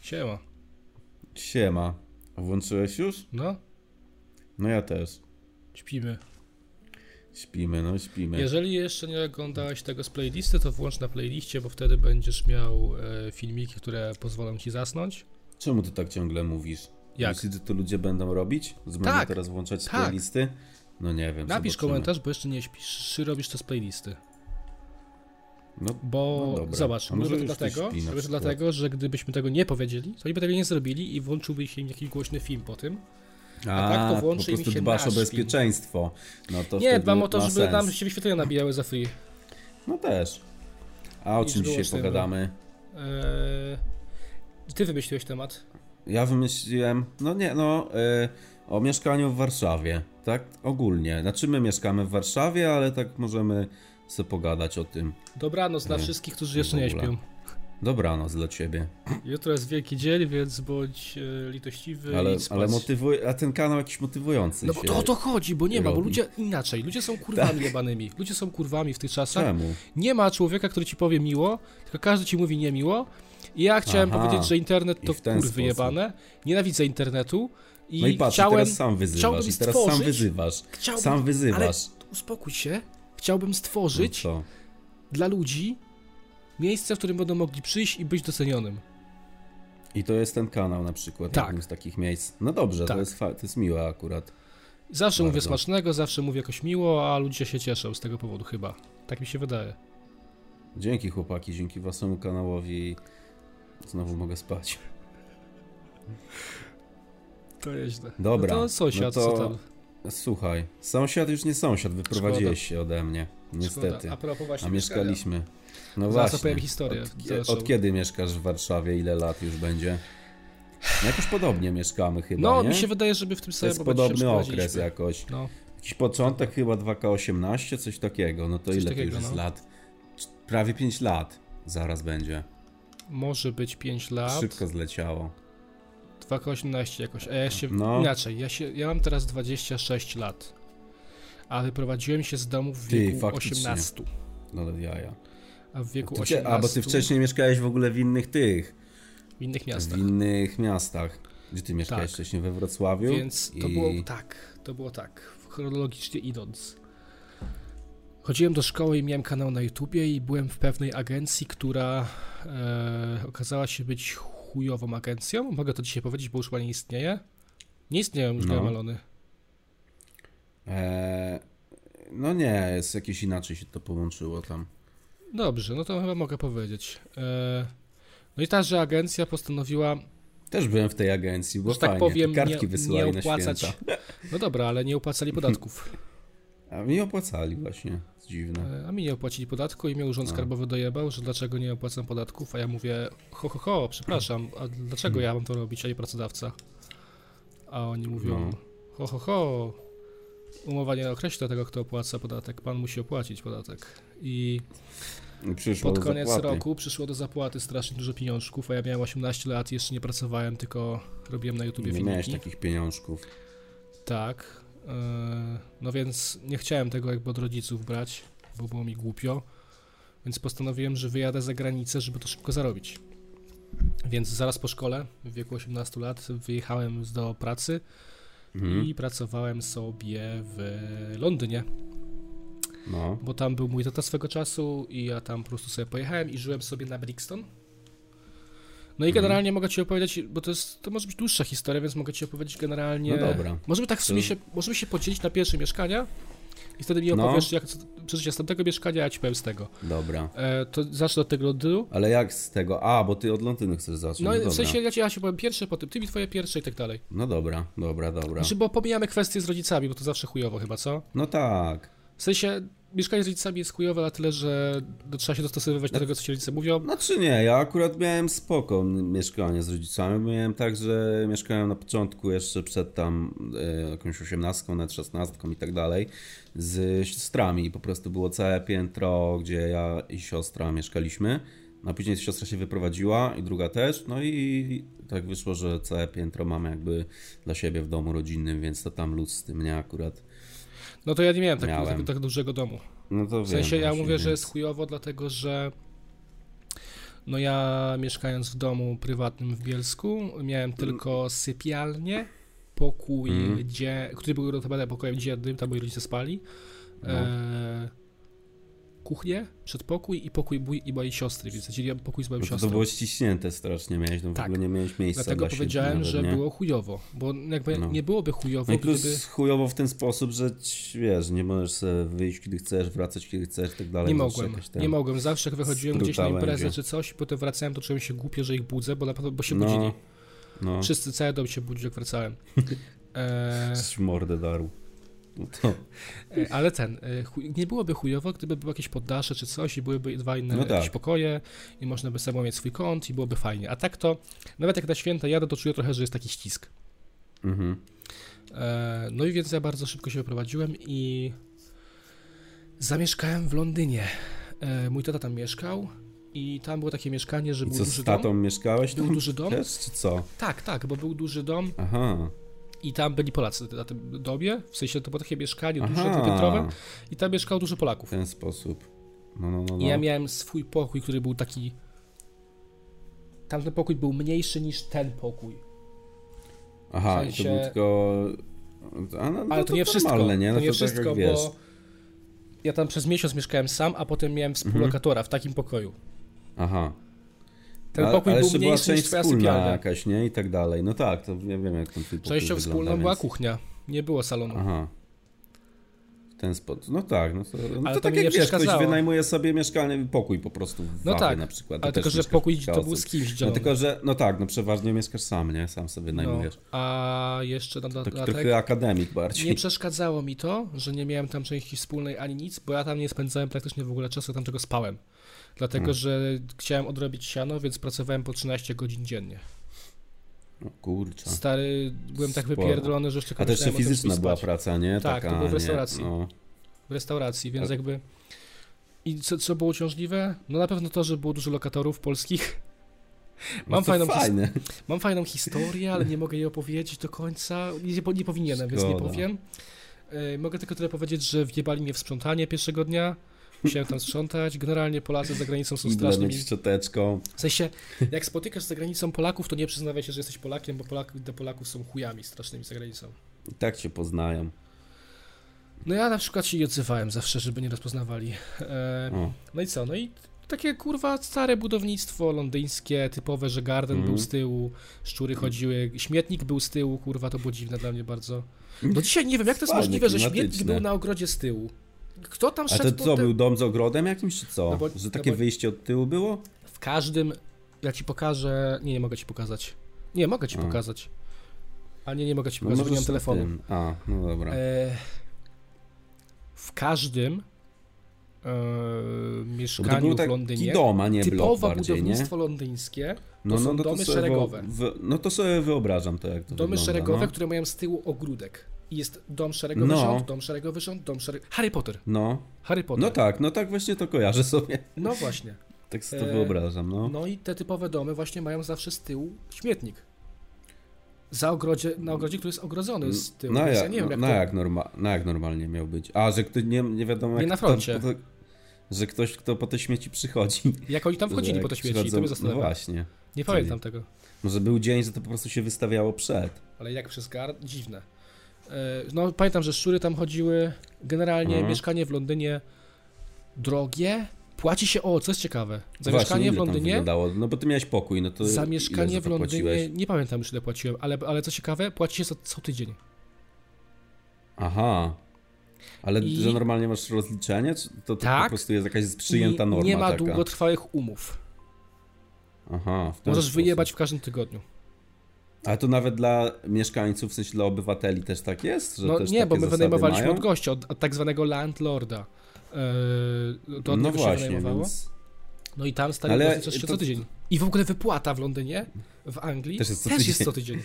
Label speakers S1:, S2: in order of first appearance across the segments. S1: Siema.
S2: Siema. Włączyłeś już?
S1: No,
S2: No ja też.
S1: śpimy.
S2: Śpimy, no śpimy.
S1: Jeżeli jeszcze nie oglądałeś tego z playlisty, to włącz na playliście, bo wtedy będziesz miał e, filmiki, które pozwolą ci zasnąć.
S2: Czemu ty tak ciągle mówisz?
S1: Jak?
S2: Myślisz, że to ludzie będą robić? Będą
S1: Tak.
S2: teraz włączać
S1: Tak.
S2: playlisty? No nie wiem.
S1: Napisz
S2: zobaczymy.
S1: komentarz, bo jeszcze nie śpisz, czy robisz to z playlisty.
S2: No,
S1: Bo
S2: No dobra.
S1: zobacz,
S2: A
S1: może
S2: może
S1: to
S2: już ktoś
S1: dlatego,
S2: śpi na
S1: może
S2: przykład.
S1: dlatego, że gdybyśmy tego nie powiedzieli, to oni by tego nie zrobili i włączyłby się im jakiś głośny film po tym.
S2: a,
S1: tak to włączy
S2: po
S1: i mi
S2: prostu
S1: się
S2: dbasz o
S1: naśpi.
S2: bezpieczeństwo. No to
S1: Nie,
S2: wtedy
S1: dbam o to,
S2: ma
S1: żeby nam
S2: sens.
S1: się wyświetlenia nabijały za free.
S2: No też. A o
S1: Nic
S2: czym dzisiaj
S1: wyłącznego.
S2: pogadamy?
S1: Eee, ty wymyśliłeś temat.
S2: Ja wymyśliłem, no nie, no, y, o mieszkaniu w Warszawie, tak ogólnie. Znaczy my mieszkamy w Warszawie, ale tak możemy sobie pogadać o tym.
S1: Dobranoc dla wszystkich, którzy jeszcze
S2: w
S1: nie
S2: ogóle.
S1: śpią.
S2: Dobranoc dla ciebie.
S1: Jutro jest wielki dzień, więc bądź e, litościwy i
S2: Ale,
S1: idź spać.
S2: ale motywuje, a ten kanał jakiś motywujący
S1: No bo
S2: się.
S1: to o to chodzi, bo nie ma, bo
S2: robi. Tak.
S1: ludzie inaczej, ludzie są kurwami jebanymi, ludzie są kurwami w tych czasach.
S2: Czemu?
S1: Nie ma człowieka, który ci powie miło, tylko każdy ci mówi niemiło. I ja chciałem
S2: Aha.
S1: powiedzieć, że internet
S2: I
S1: to
S2: w ten
S1: kurwy
S2: sposób.
S1: jebane, nienawidzę internetu i
S2: No i patrz, i
S1: chciałem...
S2: teraz sam wyzywasz,
S1: chciałbym
S2: i teraz sam
S1: stworzyć-
S2: wyzywasz,
S1: Chciałbym,
S2: sam
S1: ale
S2: wyzywasz.
S1: uspokój się, chciałbym
S2: No
S1: stworzyć
S2: co?
S1: dla ludzi miejsce, w którym będą mogli przyjść i być docenionym.
S2: I to jest ten kanał na przykład,
S1: Tak.
S2: jednym z takich miejsc. No dobrze,
S1: Tak.
S2: to, jest fa- to jest miłe akurat.
S1: Zawsze mówię
S2: Bardzo.
S1: smacznego, zawsze mówię jakoś miło, a ludzie się cieszą z tego powodu chyba. Tak mi się wydaje.
S2: Dzięki chłopaki, dzięki waszemu kanałowi znowu mogę spać.
S1: To nieźle. No
S2: Dobra,
S1: to sąsiad,
S2: no to
S1: co tam?
S2: Słuchaj, sąsiad już nie sąsiad, wyprowadziłeś się ode mnie, niestety.
S1: Szkoda. A propos właśnie
S2: A mieszkaliśmy. No
S1: Zaraz
S2: właśnie.
S1: opowiem historię
S2: Od, kie-
S1: dalszą.
S2: od kiedy mieszkasz w Warszawie? Ile lat już będzie? No jakoś podobnie mieszkamy chyba,
S1: No,
S2: nie?
S1: mi się wydaje, żeby w tym
S2: to
S1: samym
S2: jest
S1: momencie się
S2: podobny okres
S1: przeprowadziliśmy.
S2: jakoś.
S1: No,
S2: Jakiś początek chyba 2K18, coś takiego. No to
S1: Coś
S2: ile to
S1: takiego,
S2: już jest
S1: no.
S2: lat? Cz- Prawie 5 lat zaraz będzie.
S1: może być 5 lat,
S2: Szybko zleciało.
S1: 2,18 jakoś. A ja się,
S2: No.
S1: inaczej, ja, się, ja mam teraz 26 lat, a wyprowadziłem się z domu w
S2: Ty,
S1: wieku
S2: faktycznie.
S1: 18.
S2: No ale jaja.
S1: A w wieku
S2: Ty,
S1: 18
S2: cie- a bo ty wcześniej mieszkałeś w ogóle w innych tych,
S1: w innych miastach.
S2: w innych miastach. Gdzie ty mieszkałeś
S1: Tak.
S2: wcześniej? We Wrocławiu?
S1: Więc to
S2: I-
S1: było tak, to było tak, chronologicznie idąc. Chodziłem do szkoły i miałem kanał na YouTubie i byłem w pewnej agencji, która e, okazała się być chujową agencją. Mogę to dzisiaj powiedzieć, bo już chyba nie istnieje. Nie istnieją już
S2: No.
S1: no. malony.
S2: Eee, no nie, jest jakieś inaczej się to połączyło tam.
S1: Dobrze, no to chyba mogę powiedzieć. E, no i także agencja postanowiła,
S2: Też byłem w tej agencji, było
S1: że tak
S2: No fajnie.
S1: powiem,
S2: te kartki
S1: nie,
S2: wysyłali
S1: nie
S2: na
S1: opłacać.
S2: święta.
S1: No dobra, ale nie opłacali podatków.
S2: A mi opłacali właśnie, to dziwne.
S1: E, A mi nie opłacili podatku i mnie urząd
S2: No.
S1: skarbowy dojebał, że dlaczego nie opłacam podatków, a ja mówię, ho, ho, ho, przepraszam, a
S2: Hmm.
S1: dlaczego ja mam to robić, a nie pracodawca? A oni mówią,
S2: No.
S1: ho, ho, ho, umowa nie określa tego, kto opłaca podatek, pan musi opłacić podatek. I
S2: I Przyszło
S1: pod
S2: do
S1: koniec
S2: zapłaty.
S1: roku przyszło do zapłaty strasznie dużo pieniążków, a ja miałem 18 lat i jeszcze nie pracowałem, tylko robiłem na YouTubie
S2: Nie miałeś
S1: filmiki.
S2: takich pieniążków.
S1: Tak. yy, No więc nie chciałem tego jakby od rodziców brać, bo było mi głupio. Więc postanowiłem, że wyjadę za granicę, żeby to szybko zarobić. Więc zaraz po szkole, w wieku 18 lat, wyjechałem z- do pracy
S2: Mhm.
S1: i pracowałem sobie w Londynie,
S2: No.
S1: bo tam był mój tata swego czasu i ja tam po prostu sobie pojechałem i żyłem sobie na Brixton. No i
S2: Mhm.
S1: generalnie mogę ci opowiedzieć, bo to, jest, to może być dłuższa historia, więc mogę ci opowiedzieć generalnie
S2: no dobra.
S1: Możemy tak w sumie się, możemy się podzielić na pierwsze mieszkania i wtedy mi
S2: No.
S1: opowiesz, jak co- przeżycia z tamtego mieszkania, a ja ci powiem z tego.
S2: Dobra.
S1: E, to zacznę od tego Londynu.
S2: Ale jak z tego? A, bo ty od Londynu chcesz zacząć.
S1: No,
S2: No, dobra.
S1: w sensie ja ci ja się powiem pierwsze, potem ty mi twoje pierwsze i tak dalej.
S2: No dobra, dobra, dobra.
S1: Znaczy, bo pomijamy kwestie z rodzicami, bo to zawsze chujowo chyba, co?
S2: No tak.
S1: W sensie mieszkanie z rodzicami jest chujowe na tyle, że no, trzeba się dostosowywać do tego, co ci rodzice mówią.
S2: Znaczy nie, ja akurat miałem spoko m- mieszkanie z rodzicami. Miałem tak, że mieszkałem na początku jeszcze przed tam e, jakąś osiemnastką, nawet szesnastką i tak dalej z siostrami. Po prostu było całe piętro, gdzie ja i siostra mieszkaliśmy. No A później siostra się wyprowadziła i druga też. No i tak wyszło, że całe piętro mamy jakby dla siebie w domu rodzinnym, więc to tam luz z tym nie akurat.
S1: No to ja nie miałem tak,
S2: Miałem.
S1: tak, tak dużego domu.
S2: No to
S1: W sensie
S2: wiem,
S1: ja
S2: właśnie,
S1: mówię, że
S2: więc-
S1: jest chujowo, dlatego że No ja mieszkając w domu prywatnym w Bielsku, miałem tylko sypialnię, pokój,
S2: Mhm.
S1: gdzie, który był notabene pokojem dziennym, tam moi rodzice spali,
S2: No.
S1: e, kuchnię, przedpokój i pokój mój i mojej siostry, więc dzieliłem pokój z moją
S2: No to, to
S1: siostrą.
S2: było ściśnięte strasznie, miałeś, no w
S1: Tak.
S2: ogóle nie miałeś miejsca
S1: Dlatego
S2: dla siebie
S1: powiedziałem,
S2: nawet,
S1: że
S2: nie?
S1: było chujowo, bo jakby
S2: No.
S1: nie byłoby chujowo,
S2: No i plus
S1: gdyby...
S2: chujowo w ten sposób, że ci, wiesz, nie możesz sobie wyjść kiedy chcesz, wracać kiedy chcesz i tak dalej.
S1: Nie
S2: Zawsze
S1: mogłem,
S2: jakaś tam-
S1: nie mogłem. Zawsze jak wychodziłem gdzieś na
S2: skruta
S1: imprezę
S2: będzie.
S1: czy coś, i potem wracałem, to czułem się głupio, że ich budzę, bo na pewno bo się budzili.
S2: No, no,
S1: Wszyscy, cały dom się budził, jak wracałem. E,
S2: Przecież mordę darł. No to,
S1: e, ale ten, e, chuj, nie byłoby chujowo, gdyby było jakieś poddasze czy coś i byłyby dwa inne
S2: No tak.
S1: jakieś pokoje i można by samo mieć swój kąt i byłoby fajnie. A tak to, nawet jak na święta jadę, to czuję trochę, że jest taki ścisk.
S2: mhm.
S1: E, No i więc ja bardzo szybko się wyprowadziłem i zamieszkałem w Londynie. E, Mój tata tam mieszkał i tam było takie mieszkanie, że
S2: I
S1: był
S2: co,
S1: duży
S2: z
S1: dom.
S2: tatą mieszkałeś
S1: Był
S2: tam
S1: duży dom?
S2: też, czy co?
S1: Tak, tak, bo był duży dom
S2: Aha,
S1: i tam byli Polacy na tym domie, w sensie to było takie mieszkanie duże, dwupiętrowe
S2: aha,
S1: i tam mieszkało dużo
S2: w
S1: Polaków.
S2: ten sposób. No, no, no,
S1: I
S2: no.
S1: ja miałem swój pokój, który był taki... Tamten pokój był mniejszy niż ten pokój.
S2: Aha,
S1: w sensie-
S2: i to był tylko... A, no,
S1: Ale
S2: no
S1: to, nie wszystko,
S2: normalne, nie? No
S1: to nie
S2: tak jak
S1: wszystko,
S2: wiesz.
S1: bo ja tam przez miesiąc mieszkałem sam, a potem miałem
S2: Mhm.
S1: współlokatora w takim pokoju.
S2: Aha.
S1: Ten
S2: A-
S1: pokój
S2: ale
S1: był
S2: jeszcze była
S1: mniejszy niż
S2: część
S1: twoja
S2: wspólna
S1: sypialnia.
S2: jakaś, nie? I tak dalej. No tak, to ja wiem jak ten twój pokój
S1: Częścią
S2: wygląda,
S1: wspólną
S2: więc...
S1: była kuchnia, nie było salonu.
S2: Aha. W ten sposób. No tak, no to, no
S1: Ale to
S2: to tak
S1: mi nie
S2: jak wiesz, ktoś
S1: przeszkadzało.
S2: wynajmuje sobie mieszkanie, pokój po prostu w
S1: No
S2: Wawie
S1: tak,
S2: na przykład.
S1: Ale
S2: to
S1: tylko,
S2: też
S1: że
S2: mieszka
S1: pokój
S2: kilka
S1: to
S2: osób.
S1: był z kimś No.
S2: No
S1: dzielony.
S2: tylko, że, no tak, no przeważnie mieszkasz sam, nie? Sam sobie wynajmujesz.
S1: A jeszcze na
S2: Taki
S1: dodatek
S2: Tak trochę akademik bardziej.
S1: nie przeszkadzało mi to, że nie miałem tam części wspólnej ani nic, bo ja tam nie spędzałem praktycznie w ogóle czasu, tam czego spałem. Dlatego,
S2: Mm.
S1: że chciałem odrobić siano, więc pracowałem po 13 godzin dziennie.
S2: O No kurczę.
S1: Stary, byłem tak
S2: Sporo.
S1: wypierdolony, że już tylko
S2: A to jeszcze
S1: myślałem o tym, żeby
S2: fizyczna
S1: spać.
S2: była praca, nie?
S1: Tak, to
S2: Taka,
S1: było w
S2: nie,
S1: restauracji.
S2: No.
S1: w restauracji, więc
S2: Ale-
S1: jakby. I co, co było uciążliwe? No na pewno to, że było dużo lokatorów polskich. Mam
S2: No to
S1: fajną his-
S2: fajne.
S1: Mam fajną historię, ale nie mogę jej opowiedzieć do końca. Nie, po- nie powinienem, więc nie
S2: Szkoda.
S1: powiem. E, Mogę tylko tyle powiedzieć, że wjebali mnie w sprzątanie pierwszego dnia. Musiałem tam sprzątać. Generalnie Polacy za granicą są strasznymi.
S2: Idlenek z szczoteczką.
S1: W sensie, jak spotykasz za granicą Polaków, to nie przyznawaj się, że jesteś Polakiem, bo Polak, do Polaków są chujami strasznymi za granicą.
S2: I tak cię poznają.
S1: No ja na przykład się nie odzywałem zawsze, żeby nie rozpoznawali. E,
S2: O.
S1: No i co? No i takie kurwa stare budownictwo londyńskie, typowe, że garden
S2: Mhm.
S1: był z tyłu, szczury chodziły, śmietnik był z tyłu, kurwa, to było dziwne dla mnie bardzo. No dzisiaj nie wiem, jak to jest
S2: Fajnie,
S1: możliwe, że śmietnik
S2: klimatyczne.
S1: był na ogrodzie z tyłu. Kto tam
S2: A
S1: szedł?
S2: to
S1: po
S2: co,
S1: te-
S2: był dom z ogrodem jakimś, czy co?
S1: No bo-
S2: że
S1: no
S2: takie
S1: bo-
S2: wyjście od tyłu było?
S1: W każdym, ja ci pokażę, nie, nie mogę ci pokazać. Nie, mogę ci
S2: A.
S1: pokazać. A nie, nie mogę ci pokazać, bo nie mam
S2: możesz na
S1: telefonu.
S2: No tym. A, no dobra.
S1: E... W każdym e...
S2: Bo to
S1: mieszkaniu
S2: był
S1: w
S2: tak taki
S1: Londynie
S2: dom, a nie blok
S1: typowe
S2: bardziej, nie?
S1: budownictwo londyńskie
S2: No,
S1: są
S2: no, no,
S1: domy
S2: sobie
S1: szeregowe.
S2: wo- w- no to sobie wyobrażam to, jak to
S1: Domy
S2: wygląda,
S1: szeregowe,
S2: no.
S1: które mają z tyłu ogródek. I jest dom szeregowy
S2: No.
S1: rząd, dom szeregowy rząd, dom szeregowy... Harry Potter.
S2: No.
S1: Harry Potter.
S2: no tak, no tak właśnie to kojarzę sobie.
S1: No właśnie.
S2: Tak sobie to
S1: E,
S2: wyobrażam, no.
S1: No i te typowe domy właśnie mają zawsze z tyłu śmietnik. Za ogrodzie, na ogrodzie, który jest ogrodzony z tyłu.
S2: no,
S1: więc
S2: jak,
S1: ja nie wiem, jak
S2: no,
S1: to...
S2: jak norma- no jak normalnie miał być? A, że ktoś, nie, nie wiadomo jak...
S1: Nie na
S2: kto
S1: froncie.
S2: po te- że ktoś, kto po te śmieci przychodzi.
S1: Jak oni tam wchodzili
S2: Że
S1: po te
S2: jak
S1: śmieci, to
S2: przychodzą-
S1: mnie
S2: No
S1: zastanawia.
S2: właśnie.
S1: Nie pamiętam tego.
S2: Może był dzień, że to po prostu się wystawiało przed.
S1: Ale jak przez gar... Dziwne. E, No pamiętam, że szczury tam chodziły. Generalnie
S2: Mhm.
S1: mieszkanie w Londynie drogie. Płaci się, o, co jest ciekawe, za
S2: Właśnie,
S1: mieszkanie w
S2: ile tam
S1: Londynie
S2: wyglądało? No bo ty miałeś pokój, no to.
S1: Za
S2: ile
S1: mieszkanie
S2: za
S1: w
S2: to
S1: Londynie,
S2: płaciłeś?
S1: nie pamiętam już ile płaciłem, ale, ale co ciekawe, płaci się za co tydzień.
S2: Aha. Ale
S1: I-
S2: że normalnie masz rozliczenie? Czy to, to
S1: Tak.
S2: po prostu jest jakaś
S1: I
S2: przyjęta norma
S1: nie ma
S2: taka?
S1: długotrwałych umów.
S2: Aha, w ten
S1: Możesz
S2: sposób.
S1: wyjebać w każdym tygodniu.
S2: Ale to nawet dla mieszkańców, w sensie dla obywateli też tak jest? Że
S1: No
S2: też
S1: nie, bo
S2: takie
S1: my
S2: zasady
S1: wynajmowaliśmy
S2: mają?
S1: od gościa, od, od tak zwanego landlorda. Yy, to od
S2: No
S1: niego się
S2: właśnie,
S1: wynajmowało.
S2: więc
S1: No i tam stary
S2: Ale
S1: Ale coś się
S2: to-
S1: co tydzień. I w ogóle wypłata w Londynie, w Anglii
S2: Też jest co tydzień.
S1: tydzień.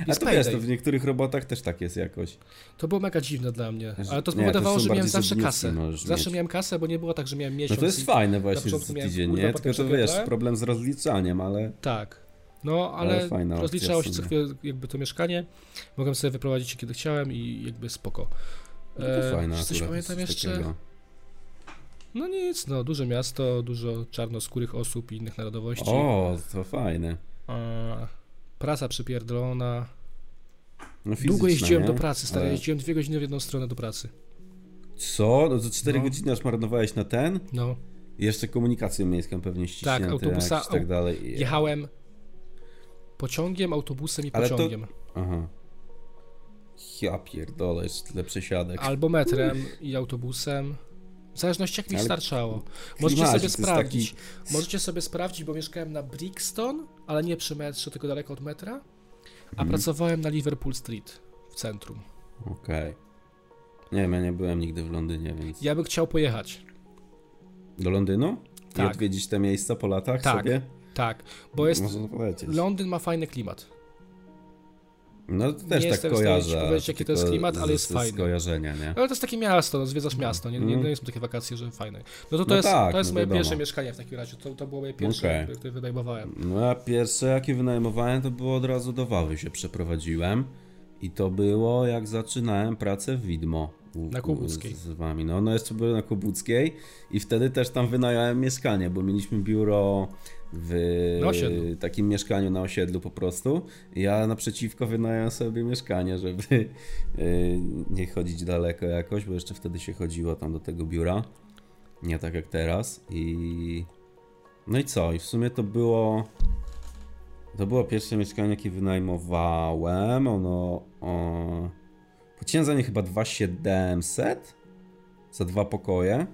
S2: A
S1: Jest
S2: to wiesz,
S1: payday.
S2: to w niektórych robotach też tak jest jakoś.
S1: To było mega dziwne dla mnie.
S2: Że-
S1: Ale to
S2: Znaczy, nie,
S1: spowodowało,
S2: to są
S1: że miałem
S2: bardziej
S1: zawsze
S2: zobniutki
S1: kasę.
S2: możesz
S1: Zawsze
S2: mieć.
S1: miałem kasę, bo nie było tak, że miałem miesiąc.
S2: No to jest
S1: i-
S2: fajne właśnie, że
S1: początku
S2: co
S1: miałem
S2: tydzień,
S1: kurwa,
S2: nie?
S1: potem
S2: Tylko to wiesz,
S1: przepierdolę.
S2: problem z rozliczaniem, ale
S1: Tak. No,
S2: Ale
S1: ale,
S2: fajna opcja
S1: rozliczało
S2: w
S1: się co
S2: sumie.
S1: chwilę jakby to mieszkanie. Mogłem sobie wyprowadzić się kiedy chciałem i jakby spoko.
S2: no to
S1: E,
S2: fajne
S1: czy coś
S2: akurat
S1: pamiętam
S2: jest coś
S1: jeszcze?
S2: takiego.
S1: No nic, no duże miasto, dużo czarnoskórych osób i innych narodowości.
S2: O, to fajne.
S1: E, Prasa przypierdolona.
S2: No,
S1: Długo
S2: fizyczne,
S1: jeździłem
S2: nie?
S1: do pracy, stary.
S2: Ale-
S1: Jeździłem dwie godziny w jedną stronę do pracy.
S2: Co? No, za 4
S1: No.
S2: godziny aż marnowałeś na ten?
S1: No.
S2: Jeszcze komunikację miejską pewnie ściśnięte,
S1: autobusa-
S2: jakieś i tak dalej. Je-
S1: Jechałem pociągiem, autobusem i
S2: Ale to-
S1: pociągiem.
S2: Aha. Ja pierdolę, jeszcze tyle przesiadek.
S1: Albo metrem i autobusem. W zależności jak mi
S2: Ale
S1: starczało. Możecie
S2: klimacik
S1: sobie
S2: to jest taki-
S1: sprawdzić. Możecie sobie sprawdzić, bo mieszkałem na Brixton, ale nie przy metrze, tylko daleko od metra. A
S2: Mhm.
S1: pracowałem na Liverpool Street w centrum.
S2: Okej. Nie wiem, ja nie byłem nigdy w Londynie, więc...
S1: Ja bym chciał pojechać.
S2: Do Londynu? I
S1: Tak.
S2: odwiedzić te miejsca po latach
S1: Tak.
S2: sobie?
S1: Tak, bo jest.
S2: Można polecieć.
S1: Londyn ma fajny klimat.
S2: No to też
S1: Nie
S2: tak
S1: jestem w stanie ci
S2: kojarzę.
S1: powiedzieć, jaki to jest
S2: tylko
S1: klimat, ale
S2: z-
S1: jest
S2: z
S1: fajny.
S2: skojarzenia, nie?
S1: Ale to jest takie miasto, no, zwiedzasz miasto, nie, nie, nie są takie wakacje, że fajne. No to to
S2: Mhm. No
S1: jest,
S2: tak,
S1: to jest
S2: no
S1: moje
S2: wiadomo.
S1: pierwsze mieszkanie w takim razie, to, to było moje pierwsze,
S2: Okej.
S1: które wynajmowałem.
S2: No a pierwsze jakie wynajmowałem to było od razu do Wawy się przeprowadziłem i to było jak zaczynałem pracę w Widmo. u-
S1: Na Kłobuckiej.
S2: u- Z, z wami. No, no jeszcze byłem na Kłobuckiej i wtedy też tam wynająłem mieszkanie, bo mieliśmy biuro w
S1: Na osiedlu.
S2: takim mieszkaniu na osiedlu po prostu. Ja naprzeciwko wynająłem sobie mieszkanie, żeby y, nie chodzić daleko jakoś, bo jeszcze wtedy się chodziło tam do tego biura. Nie tak jak teraz i no i co? I w sumie to było. To było pierwsze mieszkanie, jakie wynajmowałem. Ono. O... Płaciłem za nie chyba 2700 za dwa pokoje.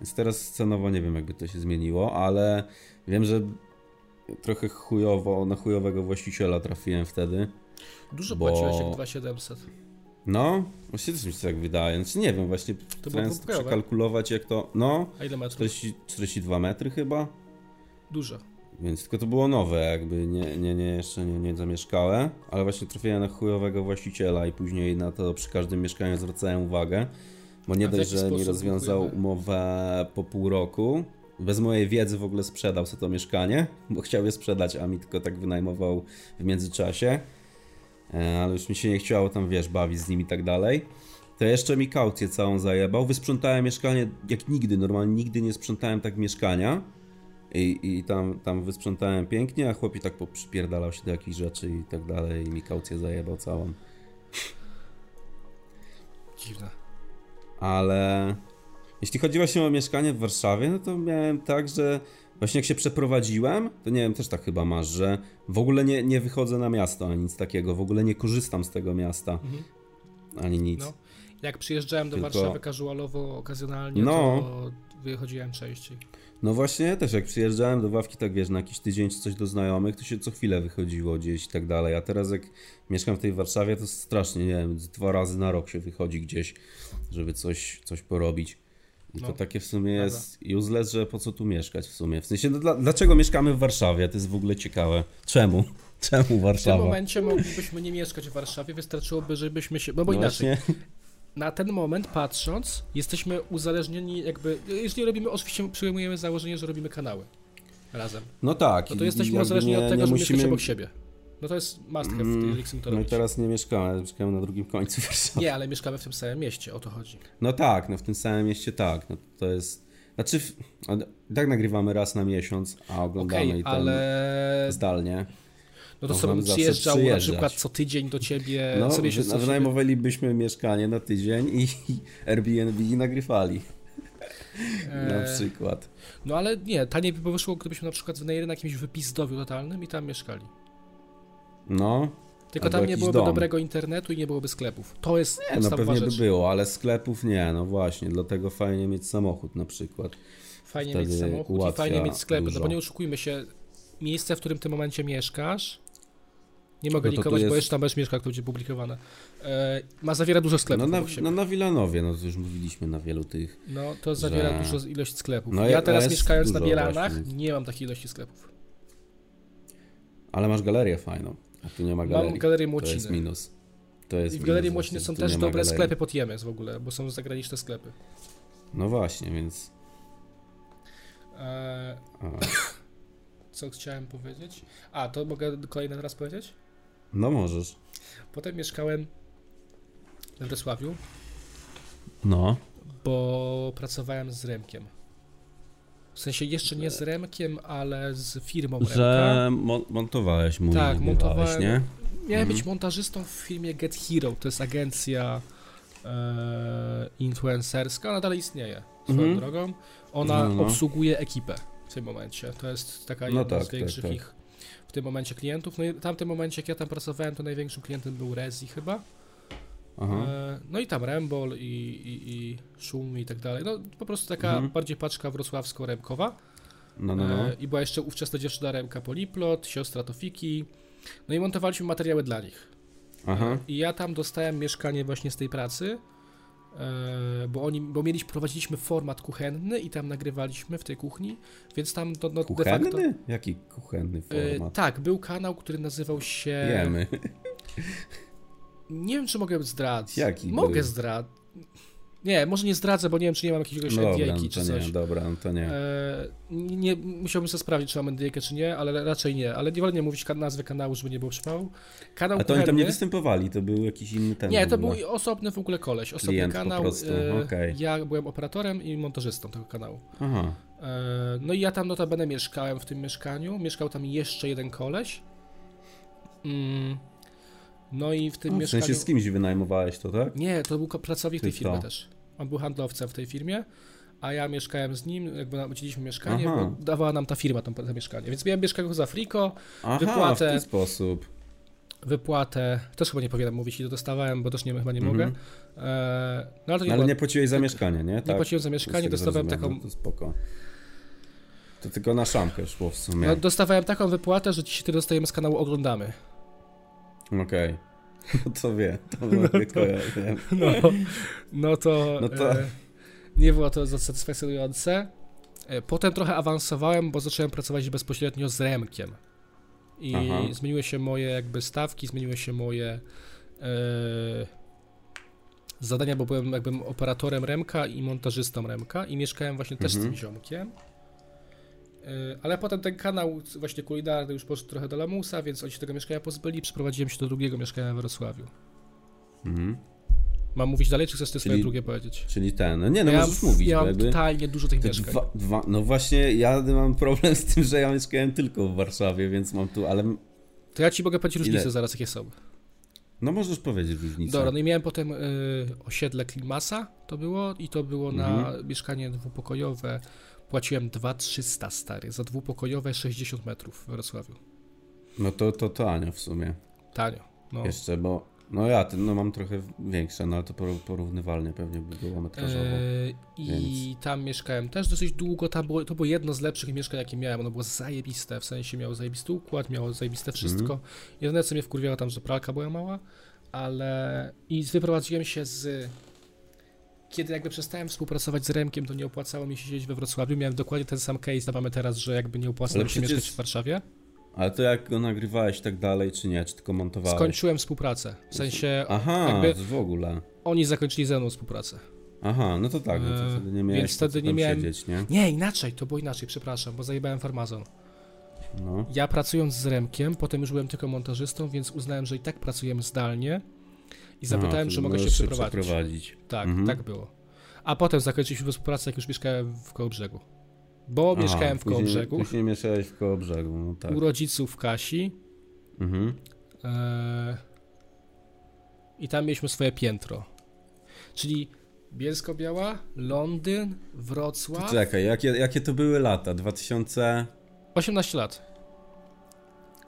S2: Więc teraz cenowo nie wiem, jakby to się zmieniło, ale wiem, że trochę chujowo, na chujowego właściciela trafiłem wtedy.
S1: Dużo
S2: Bo-
S1: płaciłeś jak 2700.
S2: No, właśnie też mi się tak wydaje. Znaczy, nie wiem, właśnie starając
S1: pokojowe.
S2: przekalkulować, jak to. No,
S1: A ile metrów?
S2: 40, 42 metry chyba.
S1: Dużo.
S2: Więc tylko to było nowe, jakby nie, nie, nie jeszcze nie, nie zamieszkałe, ale właśnie trafiłem na chujowego właściciela i później na to przy każdym mieszkaniu zwracają uwagę, bo nie
S1: A w
S2: dość,
S1: jaki
S2: że nie
S1: sposób
S2: rozwiązał
S1: dziękujemy?
S2: umowę po pół roku, bez mojej wiedzy w ogóle sprzedał sobie to mieszkanie, bo chciał je sprzedać, a mi tylko tak wynajmował w międzyczasie, E, ale już mi się nie chciało tam, wiesz, bawić z nim i tak dalej. To jeszcze mi kaucję całą zajebał. Wysprzątałem mieszkanie jak nigdy, normalnie nigdy nie sprzątałem tak mieszkania. I, i tam, tam wysprzątałem pięknie, a chłopi tak poprzypierdalał się do jakichś rzeczy i tak dalej i mi kaucję zajebał całą.
S1: Dziwne.
S2: Ale jeśli chodzi właśnie o mieszkanie w Warszawie, no to miałem tak, że właśnie jak się przeprowadziłem, to nie wiem, też tak chyba masz, że w ogóle nie, nie wychodzę na miasto ani nic takiego, w ogóle nie korzystam z tego miasta ani nic.
S1: No. Jak przyjeżdżałem do
S2: Tylko-
S1: Warszawy casualowo, okazjonalnie,
S2: No.
S1: to wychodziłem częściej.
S2: No właśnie, ja też jak przyjeżdżałem do Wawki, tak wiesz, na jakiś tydzień czy coś do znajomych, to się co chwilę wychodziło gdzieś i tak dalej. A teraz jak mieszkam w tej Warszawie, to strasznie, nie wiem, z dwa razy na rok się wychodzi gdzieś, żeby coś, coś porobić. I to
S1: No,
S2: takie w sumie jest useless, że po co tu mieszkać w sumie. W sensie, no, dla, dlaczego mieszkamy w Warszawie? To jest w ogóle ciekawe. Czemu? Czemu
S1: W tym
S2: Warszawa?
S1: momencie moglibyśmy nie mieszkać w Warszawie, wystarczyłoby, żebyśmy się. No bo
S2: No
S1: inaczej.
S2: właśnie.
S1: Na ten moment patrząc, jesteśmy uzależnieni, jakby. Jeżeli robimy, oczywiście przyjmujemy założenie, że robimy kanały razem.
S2: No tak.
S1: No to
S2: i- i
S1: jesteśmy
S2: jakby
S1: uzależnieni
S2: nie-
S1: od tego,
S2: nie
S1: że
S2: musimy-
S1: musimy... obok siebie. No to jest must have, jeżeli chcemy to
S2: No i
S1: robić.
S2: teraz nie mieszkamy, mieszkamy na drugim końcu Warszawy.
S1: Nie, ale mieszkamy w tym samym mieście, o to chodzi.
S2: No tak, no w tym samym mieście tak. No to jest. Znaczy, w- a d- tak nagrywamy raz na miesiąc, a oglądamy
S1: Okej,
S2: No i tam
S1: ale
S2: zdalnie.
S1: no to
S2: no,
S1: sobie
S2: mam
S1: bym
S2: zawsze
S1: przyjeżdżał na
S2: przyjeżdżać.
S1: przykład co tydzień do ciebie,
S2: No,
S1: co miesiąc
S2: wy-
S1: do ciebie.
S2: wynajmowalibyśmy mieszkanie na tydzień i i Airbnb i nagrywali.
S1: E.
S2: Na przykład.
S1: No ale nie, taniej by wyszło, gdybyśmy na przykład wynajęli na jakimś wypizdowiu totalnym i tam mieszkali.
S2: No.
S1: Tylko
S2: Albo
S1: tam nie
S2: jakiś
S1: byłoby
S2: dom.
S1: dobrego internetu i nie byłoby sklepów. To jest
S2: Nie, no
S1: podstawowa
S2: pewnie by
S1: rzecz.
S2: było, ale sklepów nie, no właśnie, dlatego fajnie mieć samochód na przykład.
S1: Fajnie
S2: wtedy
S1: mieć samochód i
S2: ułatwia
S1: fajnie mieć sklepy,
S2: dużo.
S1: no bo nie oszukujmy się, miejsce, w którym w tym momencie mieszkasz, nie mogę
S2: No to tu
S1: likować, bo
S2: jest-
S1: jeszcze tam będziesz mieszkał, jak to będzie publikowane, e, ma zawiera dużo
S2: No
S1: sklepów
S2: na,
S1: no, siebie.
S2: no na Wilanowie, no to już mówiliśmy na wielu tych.
S1: No to zawiera
S2: że-
S1: dużo ilość sklepów.
S2: No
S1: ja
S2: je-
S1: teraz
S2: jest
S1: mieszkając na
S2: dużo
S1: Bielanach
S2: właśnie.
S1: nie mam takiej ilości sklepów.
S2: Ale masz galerię fajną, a tu nie ma galerii.
S1: Mam galerię
S2: to jest
S1: Młociny.
S2: minus. To jest
S1: I w
S2: minus
S1: Galerii
S2: właśnie,
S1: Młociny
S2: że
S1: są
S2: tu
S1: też
S2: nie ma
S1: dobre
S2: galerii.
S1: sklepy pod Jemez w ogóle, bo są zagraniczne sklepy.
S2: No właśnie, więc
S1: E,
S2: A.
S1: co chciałem powiedzieć? A, to mogę kolejne teraz powiedzieć?
S2: No możesz.
S1: Potem mieszkałem we Wrocławiu,
S2: No.
S1: bo pracowałem z Remkiem. W sensie jeszcze nie z Remkiem, ale z firmą Remka.
S2: Że mon- montowałeś mu
S1: Tak, montowałem.
S2: nie?
S1: Miałem
S2: Mhm.
S1: być montażystą w firmie Get Hero, to jest agencja e, influencerska, ona dalej istnieje swoją
S2: Mhm.
S1: drogą. Ona
S2: No, no.
S1: obsługuje ekipę w tym momencie. To jest taka
S2: No
S1: jedna
S2: tak,
S1: z
S2: tak,
S1: większych
S2: tak.
S1: ich w tym momencie klientów. No i w tamtym momencie, jak ja tam pracowałem, to największym klientem był Rezi chyba.
S2: Aha.
S1: E, no i tam Rembol i, i, i Szum i tak dalej. No po prostu taka
S2: Mhm.
S1: bardziej paczka wrocławsko-remkowa.
S2: No, no, no.
S1: E, I była jeszcze ówczesna dziewczyna Remka Poliplot, siostra Tofiki. No i montowaliśmy materiały dla nich.
S2: Aha.
S1: I ja tam dostałem mieszkanie właśnie z tej pracy, e, bo, oni, bo mieliśmy, prowadziliśmy format kuchenny i tam nagrywaliśmy w tej kuchni, więc tam to, no, de facto...
S2: Kuchenny? Jaki kuchenny
S1: E,
S2: format?
S1: tak, był kanał, który nazywał się...
S2: Jemy.
S1: Nie wiem, czy mogę zdradzić.
S2: Jaki
S1: Mogę
S2: był?
S1: zdradzić. Nie, może nie zdradzę, bo nie wiem, czy nie mam jakiegoś
S2: No dobra,
S1: NDA
S2: no
S1: czy
S2: to nie,
S1: coś.
S2: dobra, no to nie.
S1: E, nie, musiałbym sobie sprawdzić, czy mam NDA czy nie, ale raczej nie. Ale nie wolno nie mówić ka- nazwy kanału, żeby nie było przypału. Kanał
S2: A to oni
S1: kuchenny...
S2: tam nie występowali, to był jakiś inny temat.
S1: Nie, to był osobny w ogóle koleś, osobny
S2: Klient po
S1: kanał.
S2: prostu,
S1: e,
S2: okej.
S1: Ja byłem operatorem i montażystą tego kanału.
S2: Aha.
S1: E, No i ja tam notabene mieszkałem w tym mieszkaniu. Mieszkał tam jeszcze jeden koleś. Mm, No i w tym
S2: W
S1: mieszkaniu.
S2: sensie z kimś wynajmowałeś to, tak?
S1: Nie, to był ko- pracownik tej
S2: Ty
S1: firmy
S2: to.
S1: też. On był handlowcem w tej firmie, a ja mieszkałem z nim, jakby dzieliliśmy mieszkanie,
S2: Aha.
S1: bo dawała nam ta firma tam to mieszkanie. Więc miałem mieszkanie za Frico,
S2: Aha,
S1: Wypłatę.
S2: w ten sposób.
S1: wypłatę. Też chyba nie powinienem mówić, ile dostawałem, bo też nie, chyba nie mogę. E, No ale to nie
S2: Mhm. No,
S1: była
S2: ale nie płaciłeś za mieszkanie, nie? Tak.
S1: Nie płaciłem za mieszkanie, dostawałem taką.
S2: no To spoko. To tylko na szamkę szło w sumie.
S1: No, dostawałem taką wypłatę, że dzisiaj tyle dostajemy z kanału oglądamy.
S2: Okej. No to wie, to no to... ja wiem.
S1: No, no to,
S2: No to-
S1: E, nie było to satysfakcjonujące. E, Potem trochę awansowałem, bo zacząłem pracować bezpośrednio z Remkiem. I
S2: Aha.
S1: zmieniły się moje jakby stawki, zmieniły się moje e, zadania, bo byłem jakby operatorem Remka i montażystą Remka i mieszkałem właśnie też z
S2: Mhm.
S1: tym ziomkiem. E, Ale potem ten kanał właśnie kulinarny już poszedł trochę do lamusa, więc oni się tego mieszkania pozbyli. Przeprowadziłem się do drugiego mieszkania w Wrocławiu.
S2: Mhm.
S1: Mam mówić dalej, czy chcesz ty swoje
S2: Czyli-
S1: drugie powiedzieć?
S2: Czyli ten. No nie, no
S1: ja
S2: możesz mówić,
S1: ja
S2: bo
S1: mam
S2: jakby...
S1: totalnie dużo tych
S2: Te
S1: mieszkań.
S2: Dwa, dwa, no właśnie, ja mam problem z tym, że ja mieszkałem tylko w Warszawie, więc mam tu, ale...
S1: To ja ci mogę powiedzieć różnice
S2: Ile?
S1: zaraz, jakie są.
S2: No możesz powiedzieć różnicę.
S1: Dobra, no i miałem potem y, osiedle Klimasa, to było, i to było na
S2: Mhm.
S1: mieszkanie dwupokojowe. Płaciłem 2300 stary, za dwupokojowe 60 metrów w Wrocławiu.
S2: No to, to tanio w sumie.
S1: Tanio. No.
S2: Jeszcze, bo... No ja ten, no mam trochę większe, no ale to por- porównywalnie pewnie by było metrażowo.
S1: Y, I tam mieszkałem też dosyć długo, tam było, to było jedno z lepszych mieszkań, jakie miałem, ono było zajebiste, w sensie miało zajebisty układ, miało
S2: Mhm.
S1: zajebiste wszystko. Jedyne, co mnie wkurwiało tam, że pralka była mała, ale... I wyprowadziłem się z... Kiedy jakby przestałem współpracować z Remkiem, to nie opłacało mi się siedzieć we Wrocławiu, miałem dokładnie ten sam case, mamy teraz, że jakby nie opłacało
S2: Ale
S1: mi się
S2: przecież-
S1: mieszkać w Warszawie.
S2: Ale to jak go nagrywałeś i tak dalej, czy nie? Czy tylko montowałeś?
S1: Skończyłem współpracę, w sensie
S2: Aha,
S1: jakby-
S2: w ogóle.
S1: oni zakończyli ze mną współpracę.
S2: Aha, no to tak, no
S1: Eee,
S2: to wtedy nie
S1: więc
S2: miałeś
S1: wtedy
S2: co
S1: nie
S2: tam
S1: miałem-
S2: siedzieć, nie?
S1: Nie, inaczej, to było inaczej, przepraszam, bo zajebałem farmazon.
S2: No.
S1: Ja pracując z Remkiem, potem już byłem tylko montażystą, więc uznałem, że i tak pracujemy zdalnie i zapytałem,
S2: Aha,
S1: czy
S2: to
S1: mogę się
S2: możesz
S1: przeprowadzić. Tak,
S2: Mhm.
S1: tak było. A potem zakończyliśmy współpracę, jak już mieszkałem w Kołobrzegu. Bo
S2: Aha,
S1: mieszkałem w
S2: później-
S1: Kołobrzegu,
S2: Później mieszałeś w koło brzegu, no tak.
S1: u rodziców Kasi
S2: Mhm.
S1: e, i tam mieliśmy swoje piętro. Czyli Bielsko-Biała, Londyn, Wrocław,
S2: Czekaj, jakie, jakie to były lata? 2000...
S1: 18 lat.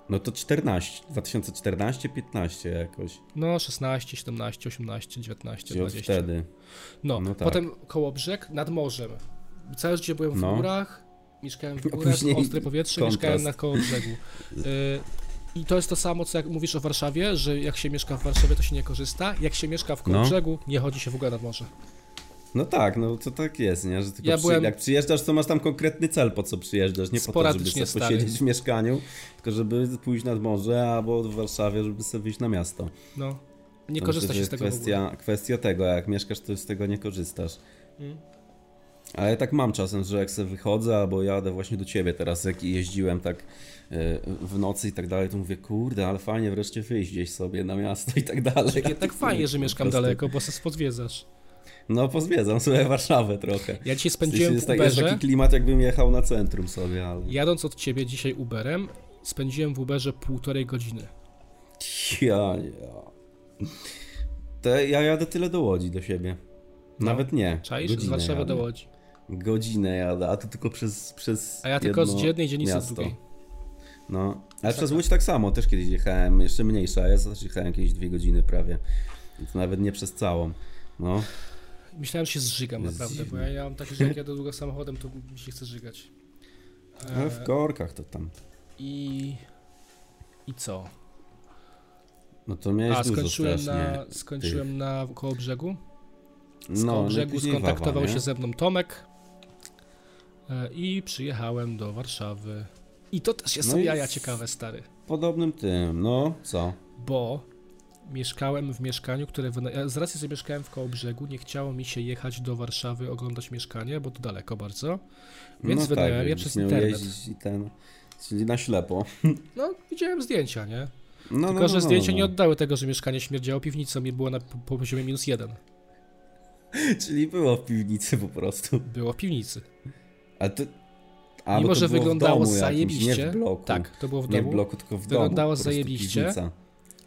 S2: No to 14, 2014, 15 jakoś.
S1: No, 16, 17, 18, 19,
S2: Czyli od
S1: 20.
S2: wtedy.
S1: No,
S2: No tak.
S1: potem Kołobrzeg nad morzem. Całe życie byłem w
S2: No.
S1: górach, mieszkałem w
S2: A
S1: górach,
S2: później
S1: ostre powietrze,
S2: kontrast.
S1: mieszkałem na Kołobrzegu. Y, I to jest to samo, co jak mówisz o Warszawie, że jak się mieszka w Warszawie, to się nie korzysta. Jak się mieszka w
S2: No.
S1: Kołobrzegu, nie chodzi się w ogóle nad morze.
S2: No tak, no to tak jest, nie? Że tylko
S1: Ja
S2: przy...
S1: byłem-
S2: jak przyjeżdżasz, to masz tam konkretny cel, po co przyjeżdżasz. Nie po to, żeby
S1: Sporadycznie,
S2: sobie
S1: stary.
S2: posiedzieć w mieszkaniu, tylko żeby pójść nad morze albo w Warszawie, żeby sobie wyjść na miasto.
S1: No. Nie
S2: No,
S1: korzysta
S2: to
S1: się
S2: jest
S1: z tego w ogóle.
S2: kwestia, kwestia tego, jak mieszkasz, to z tego nie korzystasz.
S1: Mm.
S2: Ale ja tak mam czasem, że jak sobie wychodzę albo jadę właśnie do ciebie teraz, jak jeździłem tak e, w nocy i tak dalej, to mówię, kurde, ale fajnie wreszcie wyjść gdzieś sobie na miasto i tak dalej.
S1: Jednak fajnie, że mieszkam
S2: Po prostu-
S1: daleko, bo se spodwiedzasz.
S2: No, pozwiedzam sobie Warszawę trochę.
S1: Ja dzisiaj spędziłem w
S2: jest, tak, jest
S1: Uberze,
S2: taki klimat, jakbym jechał na centrum sobie, ale...
S1: jadąc od ciebie dzisiaj Uberem, spędziłem w Uberze półtorej godziny.
S2: Ja, ja. To ja jadę tyle do Łodzi do siebie. Nawet nie.
S1: No. Czaisz? Z
S2: Godzinę
S1: Warszawy
S2: jadę.
S1: do Łodzi.
S2: Godzinę jadę, a to tylko przez przez
S1: A ja tylko z
S2: jedno
S1: jednej dzielnicy z
S2: miasto.
S1: drugiej.
S2: No, ale przez Łódź tak samo, też kiedyś jechałem, jeszcze mniejsza, ja też jechałem jakieś dwie godziny prawie. I To nawet nie przez całą. No,
S1: Myślałem, że się zżygam
S2: Jest
S1: naprawdę, bo
S2: dziwne.
S1: ja, ja mam takie, że jak jadę długo samochodem, to mi się chce żygać. E,
S2: ale No, w korkach to tam.
S1: I... I co?
S2: No to miałeś
S1: A,
S2: dużo
S1: skończyłem
S2: strasznie.
S1: na, skończyłem na koło brzegu. Z
S2: no,
S1: koło brzegu
S2: najpóźniej
S1: skontaktował
S2: Wawa,
S1: się
S2: nie?
S1: ze mną Tomek e, i przyjechałem do Warszawy. I to też jest
S2: No
S1: są
S2: i
S1: jaja
S2: z-
S1: ciekawe, stary,
S2: Podobnym tym, no, co?
S1: bo mieszkałem w mieszkaniu, które wyna... ja z racji, że mieszkałem w Kołobrzegu, nie chciało mi się jechać do Warszawy oglądać mieszkanie, bo to daleko bardzo, więc
S2: no
S1: wynająłem je
S2: jakbyś
S1: przez
S2: miał
S1: internet.
S2: jeździć i ten, czyli na ślepo.
S1: No, widziałem zdjęcia, nie?
S2: No, no,
S1: Tylko,
S2: no,
S1: że
S2: no,
S1: zdjęcia
S2: no.
S1: nie oddały tego, że mieszkanie śmierdziało piwnicą i było na po- po poziomie minus jeden.
S2: Czyli było w piwnicy po prostu.
S1: Było w piwnicy.
S2: A to. A, bo
S1: Mimo,
S2: to
S1: że
S2: było w
S1: wyglądało
S2: domu
S1: zajebiście.
S2: Jakimś, nie w bloku.
S1: Tak, to było w
S2: Nie
S1: domu.
S2: w bloku, tylko w domu.
S1: Wyglądało
S2: po prostu
S1: zajebiście.
S2: piwnica.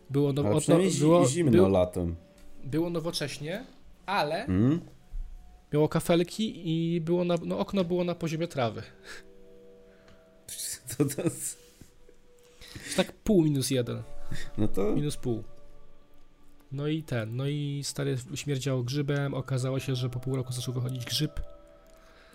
S1: Było, no,
S2: Ale
S1: o- no,
S2: przynajmniej zi-
S1: było,
S2: zimno
S1: było,
S2: latem.
S1: było nowocześnie, ale
S2: Mm?
S1: miało kafelki i było na, no, okno było na poziomie trawy.
S2: To, to, jest-
S1: Tak pół minus jeden,
S2: no to.
S1: minus pół. No i ten, no i stary śmierdziało grzybem, okazało się, że po pół roku zaczął wychodzić grzyb.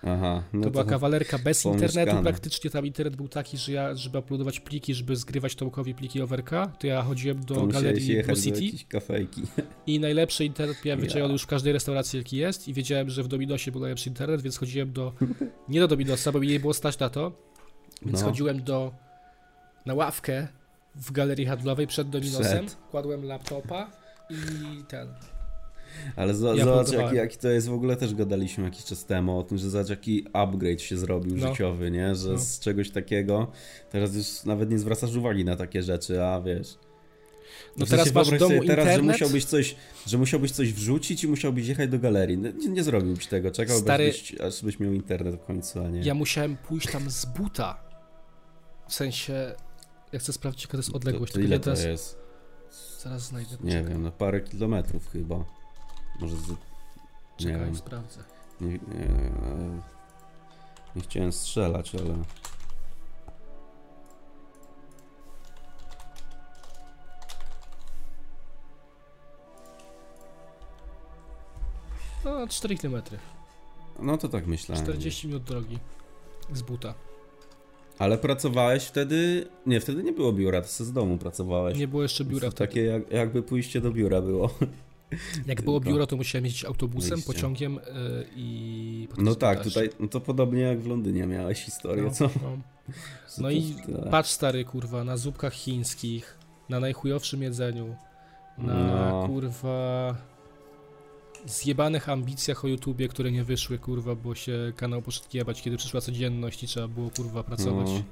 S2: Aha. No
S1: To była kawalerka bez
S2: pomieszkane.
S1: internetu praktycznie, tam internet był taki, że ja, żeby uploadować pliki, żeby zgrywać Tomkowi pliki overka, to ja chodziłem do
S2: to musiałeś
S1: galerii Blue
S2: jechać do
S1: City
S2: jakiejś kafejki.
S1: i najlepszy internet miałem
S2: Ja.
S1: wyczajony już w każdej restauracji jaki jest i wiedziałem, że w Dominosie był najlepszy internet, więc chodziłem do, nie do Dominosa, bo mi nie było stać na to, Więc
S2: No.
S1: chodziłem do, na ławkę w galerii handlowej przed Dominosem,
S2: Przed.
S1: kładłem laptopa i ten. No
S2: Ale za,
S1: Ja
S2: zobacz,
S1: próbowałem.
S2: jaki, jaki to jest. W ogóle też gadaliśmy jakiś czas temu o tym, że zobacz, jaki upgrade się zrobił
S1: No.
S2: życiowy, nie? Że
S1: No.
S2: z czegoś takiego teraz już nawet nie zwracasz uwagi na takie rzeczy, a wiesz.
S1: No
S2: W sensie
S1: teraz masz w
S2: wyobraź
S1: domu
S2: sobie teraz, że
S1: internet,
S2: musiałbyś, coś, że musiałbyś coś wrzucić i musiałbyś jechać do galerii. No, Nie, nie zrobiłbyś tego, czekałbyś,
S1: Stary-
S2: byś, aż byś miał internet w końcu, a nie.
S1: ja musiałem pójść tam z buta. W sensie, ja chcę sprawdzić jaka to jest
S2: to,
S1: odległość,
S2: to
S1: tylko
S2: ile
S1: nie
S2: to
S1: teraz,
S2: jest?
S1: zaraz znajdę.
S2: Nie wiem, no parę kilometrów chyba. Może z... Nie
S1: Czekaj,
S2: wiem.
S1: sprawdzę.
S2: Nie, nie, nie chciałem strzelać, ale...
S1: No, 4 km,
S2: No to tak myślałem.
S1: 40 minut drogi z buta.
S2: Ale pracowałeś wtedy... Nie, wtedy nie było biura, to sobie z domu pracowałeś.
S1: Nie było jeszcze biura.
S2: To Takie jak, jakby pójście do biura było.
S1: Jak było
S2: tylko
S1: biuro, to musiałem jeździć autobusem,
S2: wyjście.
S1: pociągiem y, i... potem
S2: No
S1: z
S2: tak,
S1: buta
S2: tutaj no to podobnie jak w Londynie miałeś historię,
S1: No,
S2: co?
S1: no.
S2: Co
S1: No
S2: to-
S1: i
S2: tak.
S1: patrz stary kurwa, na zupkach chińskich, na najchujowszym jedzeniu, na
S2: No.
S1: kurwa zjebanych ambicjach o YouTubie, które nie wyszły kurwa, bo się kanał poszedł jebać, kiedy przyszła codzienność i trzeba było kurwa pracować
S2: No.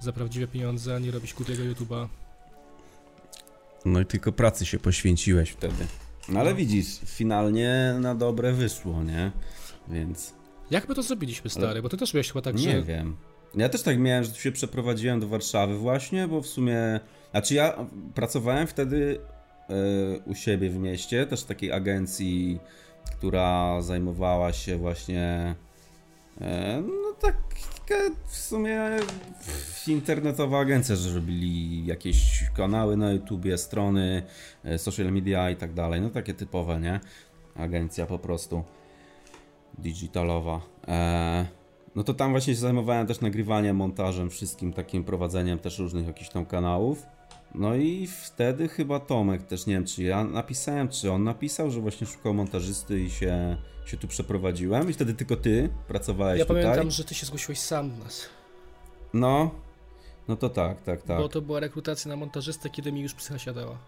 S1: za prawdziwe pieniądze, a nie robić kurwiego YouTuba.
S2: No i tylko pracy się poświęciłeś wtedy. No ale
S1: No.
S2: widzisz, finalnie na dobre wyszło, nie? Więc
S1: Jak my to zrobiliśmy stary, bo ty też miałeś chyba tak,
S2: nie
S1: że...
S2: wiem. Ja też tak miałem, że tu się przeprowadziłem do Warszawy właśnie, bo w sumie... Znaczy ja pracowałem wtedy e, u siebie w mieście, też w takiej agencji, która zajmowała się właśnie... e, No tak w sumie internetowa agencja, że robili jakieś kanały na YouTubie, strony, e, social media i tak dalej. No takie typowe, nie? Agencja po prostu digitalowa. E, no to tam właśnie się zajmowałem też nagrywaniem, montażem, wszystkim takim prowadzeniem też różnych jakichś tam kanałów. No i wtedy chyba Tomek też, nie wiem czy ja napisałem, czy on napisał, że właśnie szukał montażysty i się, się tu przeprowadziłem i wtedy tylko ty pracowałeś
S1: Ja
S2: tutaj.
S1: pamiętam, że ty się zgłosiłeś sam do nas,
S2: No, no to tak, tak, tak.
S1: bo to była rekrutacja na montażystę, kiedy mi już psycha siadała.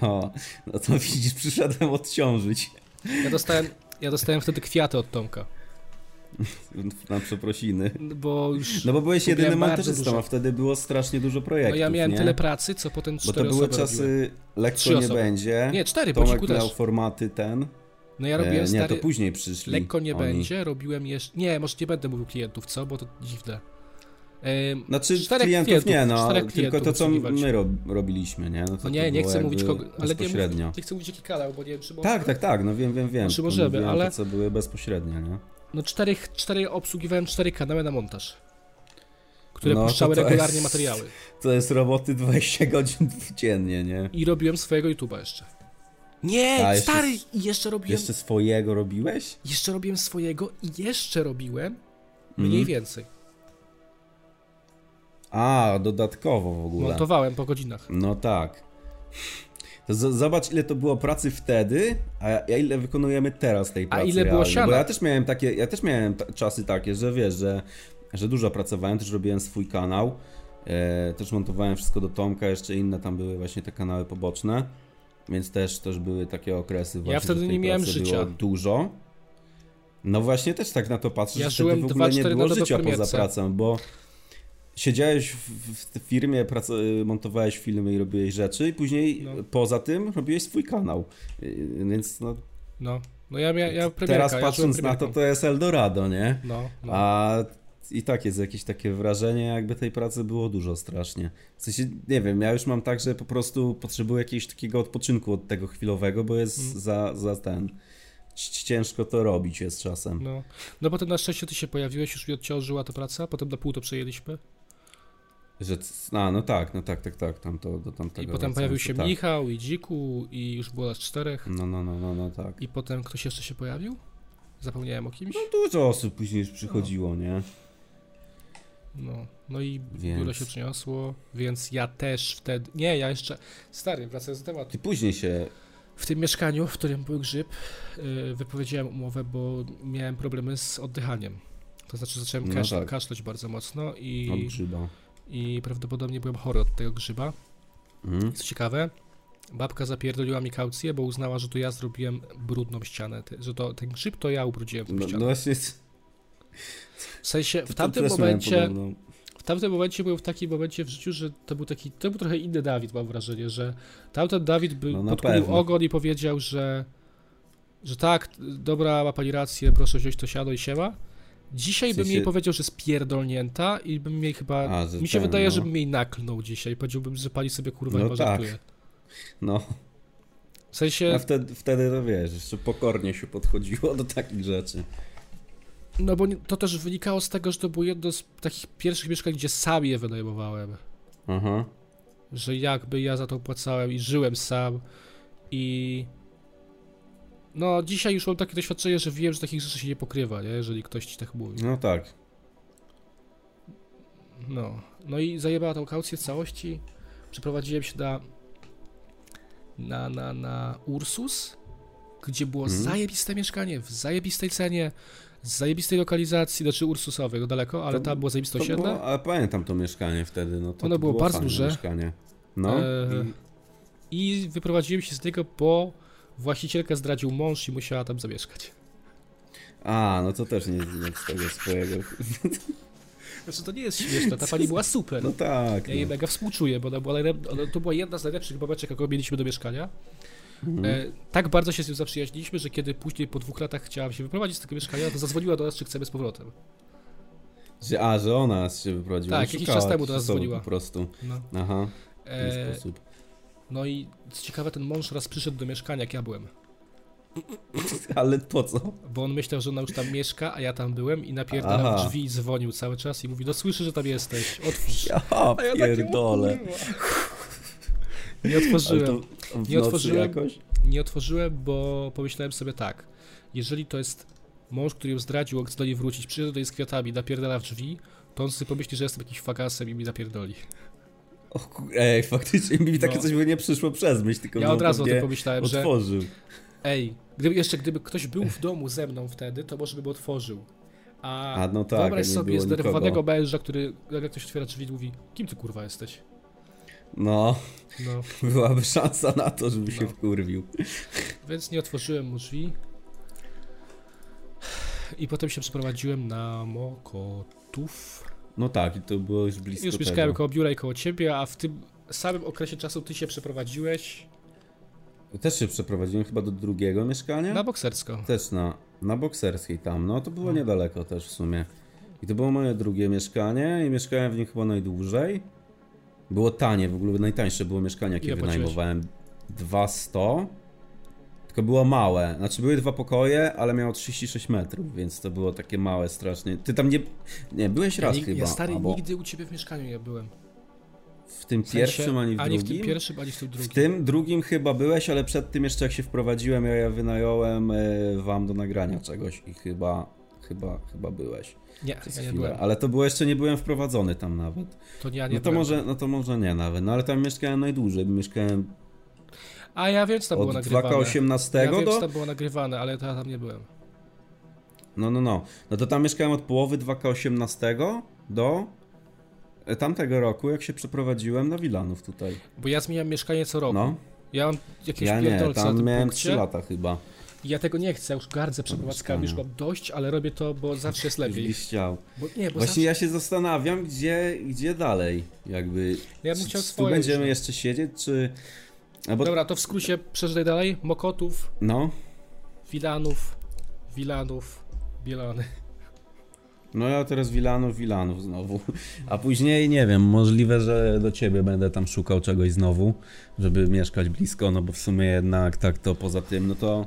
S2: O, no to widzisz, przyszedłem odciążyć.
S1: Ja dostałem, ja dostałem wtedy kwiaty od Tomka,
S2: Na przeprosiny.
S1: bo już...
S2: No bo byłeś
S1: Kupiłem
S2: jedynym
S1: bardzo
S2: montażystą,
S1: dużo.
S2: a wtedy było strasznie dużo projektów.
S1: No ja miałem
S2: nie?
S1: tyle pracy, co potem
S2: Bo
S1: cztery
S2: to były
S1: osoby robiły.
S2: czasy lekko
S1: Trzy
S2: nie
S1: osoby.
S2: będzie.
S1: Nie, cztery, bo
S2: Tomek
S1: ciku
S2: miał
S1: też.
S2: formaty ten.
S1: No ja robiłem
S2: E, nie,
S1: stary...
S2: to później przyszli.
S1: Lekko nie
S2: oni.
S1: będzie, robiłem jeszcze... Nie, może nie będę mówił klientów, co? Bo to dziwne. Ym,
S2: Znaczy
S1: czterech
S2: klientów, nie, no,
S1: czterech
S2: tylko to
S1: klientów
S2: co
S1: obsługiwać.
S2: my rob, robiliśmy, nie? No, to,
S1: No
S2: to
S1: nie, nie
S2: było
S1: chcę mówić
S2: jakby
S1: kogo, ale nie, mów,
S2: bezpośrednio.
S1: nie chcę mówić jaki kanał, bo nie wiem, czy mogę.
S2: Tak, tak, tak, no wiem, wiem, wiem.
S1: Znaczy
S2: Tylko
S1: możemy,
S2: mówiłem
S1: ale-
S2: To, co były bezpośrednio, nie?
S1: No czterech, cztery, obsługiwałem cztery kanały na montaż, które
S2: No, to
S1: puszczały
S2: to
S1: regularnie
S2: jest-
S1: materiały.
S2: To jest roboty 20 godzin dziennie, nie?
S1: I robiłem swojego YouTube'a jeszcze. Nie,
S2: A, jeszcze-
S1: stary! I jeszcze robiłem, jeszcze...
S2: Jeszcze swojego robiłeś?
S1: robiłem swojego i jeszcze robiłem
S2: Mhm.
S1: mniej więcej.
S2: A, dodatkowo w ogóle.
S1: Montowałem po godzinach.
S2: No tak. To z- zobacz, ile to było pracy wtedy, a ja ile wykonujemy teraz tej pracy.
S1: ile było
S2: realnie.
S1: siana?
S2: Bo ja też miałem takie, ja też miałem ta- czasy takie, że wiesz, że, że dużo pracowałem, też robiłem swój kanał. E, też montowałem wszystko do Tomka, jeszcze inne tam były właśnie te kanały poboczne. Więc też, też były takie okresy właśnie.
S1: wtedy
S2: że tej
S1: nie miałem
S2: pracy
S1: życia.
S2: Było dużo. No właśnie też tak na to patrzę,
S1: Ja
S2: że wtedy
S1: żyłem
S2: w
S1: dwa,
S2: ogóle nie
S1: cztery
S2: było
S1: lata do
S2: życia
S1: premierce.
S2: poza pracą, bo siedziałeś w, w firmie, praco- montowałeś filmy i robiłeś rzeczy i później
S1: No.
S2: poza tym robiłeś swój kanał. Yy, Więc no,
S1: No, no ja, mia, ja premierka,
S2: teraz
S1: ja
S2: patrząc
S1: żyłem
S2: na to,
S1: premierką.
S2: to jest Eldorado, nie?
S1: No, no.
S2: A i tak jest jakieś takie wrażenie, jakby tej pracy było dużo strasznie. W sensie, nie wiem, ja już mam tak, że po prostu potrzebuję jakiegoś takiego odpoczynku od tego chwilowego, bo jest
S1: Mhm.
S2: za, za ten... ci- Ciężko to robić jest czasem.
S1: No. no potem na szczęście ty się pojawiłeś, już mi odciążyła ta praca, potem na pół to przejęliśmy.
S2: Że, c- a, no tak, no tak, tak, tak, tam to, do
S1: I
S2: tamtego.
S1: potem
S2: wracając,
S1: pojawił
S2: to
S1: się
S2: tak.
S1: Michał i Dziku i już było nas czterech.
S2: No, no, no, no, no, tak. No,
S1: I potem ktoś jeszcze się pojawił? Zapomniałem o kimś?
S2: Dużo osób później już przychodziło, nie?
S1: No, no i
S2: Więc-
S1: biuro się przyniosło, więc ja też wtedy... Nie, ja jeszcze... Stary, wracając do tematu.
S2: Ty później się...
S1: W tym mieszkaniu, w którym był grzyb, yy, wypowiedziałem umowę, bo miałem problemy z oddychaniem. To znaczy zacząłem
S2: No
S1: kaszl-
S2: tak.
S1: kaszleć bardzo mocno i...
S2: Od grzyba.
S1: i prawdopodobnie byłem chory od tego grzyba.
S2: Mhm.
S1: Co ciekawe, babka zapierdoliła mi kaucję, bo uznała, że to ja zrobiłem brudną ścianę, te- że to ten grzyb to ja ubrudziłem tą
S2: No,
S1: ścianę.
S2: no właśnie...
S1: W sensie w
S2: to no.
S1: tamtym
S2: też miałem
S1: momencie,
S2: podobną.
S1: w tamtym momencie byłem w takim momencie w życiu, że to był taki, to był trochę inny Dawid, mam wrażenie, że tamten Dawid by
S2: No, na
S1: podkulił
S2: pewno.
S1: ogon i powiedział, że że tak, dobra, ma pani rację, proszę wziąć to siano i siema. Dzisiaj
S2: W
S1: bym
S2: sensie-
S1: jej powiedział, że spierdolnięta i bym jej chyba,
S2: A, że
S1: mi się
S2: ten,
S1: wydaje,
S2: no.
S1: że bym jej naklnął dzisiaj, powiedziałbym, że pani sobie kurwa
S2: No
S1: chyba
S2: tak.
S1: żartuje.
S2: No,
S1: W sensie,
S2: a wtedy, wtedy to wiesz, jeszcze pokornie się podchodziło do takich rzeczy.
S1: no bo nie- to też wynikało z tego, że to było jedno z takich pierwszych mieszkań, gdzie sam je wynajmowałem.
S2: Aha.
S1: że jakby ja za to płacałem i żyłem sam i no dzisiaj już mam takie doświadczenie, że wiem, że takich rzeczy się nie pokrywa, nie? jeżeli ktoś ci tak mówi.
S2: No tak.
S1: No, no i zajebała tą kaucję w całości, przeprowadziłem się na na, na, na Ursus, gdzie było
S2: Mhm.
S1: zajebiste mieszkanie, w zajebistej cenie, z zajebistej lokalizacji, znaczy Ursusowej, no daleko, ale
S2: To-
S1: tam było zajebiste
S2: To
S1: osiedle.
S2: było, ale pamiętam to mieszkanie wtedy, no to,
S1: Ono
S2: to
S1: było bardzo
S2: fajne
S1: duże.
S2: mieszkanie. No,
S1: E,
S2: i-
S1: I wyprowadziłem się z niego, bo właścicielkę zdradził mąż i musiała tam zamieszkać.
S2: a, no to też nie, nie z tego swojego.
S1: Znaczy, to nie jest śmieszne, ta pani była super.
S2: No tak.
S1: Ja jej
S2: No.
S1: mega współczuję, bo ona była, najlep- ona, to była jedna z najlepszych babeczek, jaką mieliśmy do mieszkania.
S2: Mhm.
S1: E, tak bardzo się z nią zaprzyjaźniliśmy, że kiedy później po dwóch latach chciałam się wyprowadzić z tego mieszkania, to zadzwoniła do nas, czy chcemy z powrotem.
S2: Że, a, że ona się wyprowadziła.
S1: Tak, jakiś
S2: szukała
S1: czas temu do nas
S2: osoby
S1: dzwoniła.
S2: Po prostu.
S1: No,
S2: Aha, w ten
S1: e,
S2: sposób.
S1: no i co ciekawe, ten mąż raz przyszedł do mieszkania, jak ja byłem.
S2: Ale po co?
S1: Bo on myślał, że ona już tam mieszka, a ja tam byłem i napierdalał
S2: Aha.
S1: drzwi i dzwonił cały czas i mówi, no słyszę, że tam jesteś, otwórz.
S2: Ja
S1: A ja tak takie,
S2: pierdolę.
S1: o kurwa. Nie otworzyłem,
S2: Ale to w nocy
S1: Nie otworzyłem.
S2: jakoś?
S1: nie otworzyłem, bo pomyślałem sobie tak, jeżeli to jest mąż, który ją zdradził, on chce do niej wrócić, przyjdzie do niej z kwiatami, napierdala w drzwi, to on sobie pomyśli, że jestem jakimś fakasem i mi napierdoli.
S2: O, ku- ej, faktycznie mi takie
S1: No.
S2: coś by nie przyszło przez myśl, tylko
S1: Ja
S2: bym
S1: od razu o tym
S2: pewnie
S1: pomyślałem, że
S2: otworzył.
S1: ej, gdyby, jeszcze gdyby ktoś był w domu ze mną wtedy, to może bym otworzył. A,
S2: A, no tak,
S1: wyobraź
S2: a nie
S1: sobie
S2: było
S1: zdenerwowanego
S2: nikogo.
S1: męża, który jak ktoś otwiera drzwi i mówi, kim ty kurwa jesteś?
S2: No,
S1: No.
S2: byłaby szansa na to, żeby się
S1: No.
S2: wkurwił.
S1: Więc nie otworzyłem mu drzwi. I potem się przeprowadziłem na Mokotów.
S2: No tak, i to było już blisko
S1: Już
S2: tego.
S1: mieszkałem koło biura i koło ciebie, a w tym samym okresie czasu ty się przeprowadziłeś
S2: Też się przeprowadziłem chyba do drugiego mieszkania.
S1: Na bokserską.
S2: Też na, na bokserskiej tam, no to było niedaleko też w sumie. I to było moje drugie mieszkanie i mieszkałem w nim chyba najdłużej. Było tanie, w ogóle najtańsze było mieszkanie, jakie
S1: Ile płaciłeś?
S2: wynajmowałem. 200. Tylko było małe. Znaczy były dwa pokoje, ale miało 36 metrów, więc to było takie małe strasznie. Ty tam nie... Nie, byłeś raz
S1: ja, nig-
S2: chyba.
S1: ja stary
S2: albo
S1: nigdy u ciebie w mieszkaniu nie byłem. W
S2: w tym
S1: sensie
S2: pierwszym, ani w
S1: ani w
S2: drugim.
S1: tym pierwszym, ani w tym drugim.
S2: W tym drugim chyba byłeś, ale przed tym jeszcze jak się wprowadziłem, ja, ja wynająłem y, wam do nagrania czegoś i chyba, chyba, chyba byłeś.
S1: Nie,
S2: Przez
S1: ja nie
S2: chwilę.
S1: byłem.
S2: Ale to było jeszcze nie byłem wprowadzony tam nawet.
S1: To nie, ja nie
S2: No to
S1: byłem.
S2: może, no to może nie nawet, no ale tam mieszkałem najdłużej, mieszkałem
S1: A ja wiem, co tam było
S2: od
S1: nagrywane.
S2: 2K18
S1: Ja wiem,
S2: do...
S1: co tam było nagrywane, ale to ja tam nie byłem.
S2: No, no, no. No to tam mieszkałem od połowy 2K18 do e, tamtego roku, jak się przeprowadziłem na Wilanów tutaj.
S1: Bo ja zmieniam mieszkanie co roku.
S2: No,
S1: Ja mam jakieś
S2: ja nie,
S1: pierdolce na
S2: tam
S1: tym
S2: miałem
S1: punkcie.
S2: 3 lata chyba.
S1: I Ja tego nie chcę, już gardzę przeprowadzkami, już
S2: Mieszkania.
S1: mam dość, ale robię to, bo zawsze jest lepiej.
S2: Gdzieś chciał.
S1: Bo, nie, bo
S2: Właśnie ja się zastanawiam, gdzie, gdzie dalej, jakby.
S1: Ja bym
S2: Czy-
S1: chciał
S2: czy tu
S1: swoje
S2: będziemy
S1: już.
S2: jeszcze siedzieć, czy. No, bo,
S1: zawsze... Dobra, to w skrócie przeczytaj dalej. Mokotów,
S2: no,
S1: Wilanów, Wilanów, Bielany.
S2: no ja teraz Wilanów, Wilanów znowu. A później nie wiem, możliwe, że do ciebie będę tam szukał czegoś znowu, żeby mieszkać blisko, no bo w sumie jednak tak to poza tym, no to.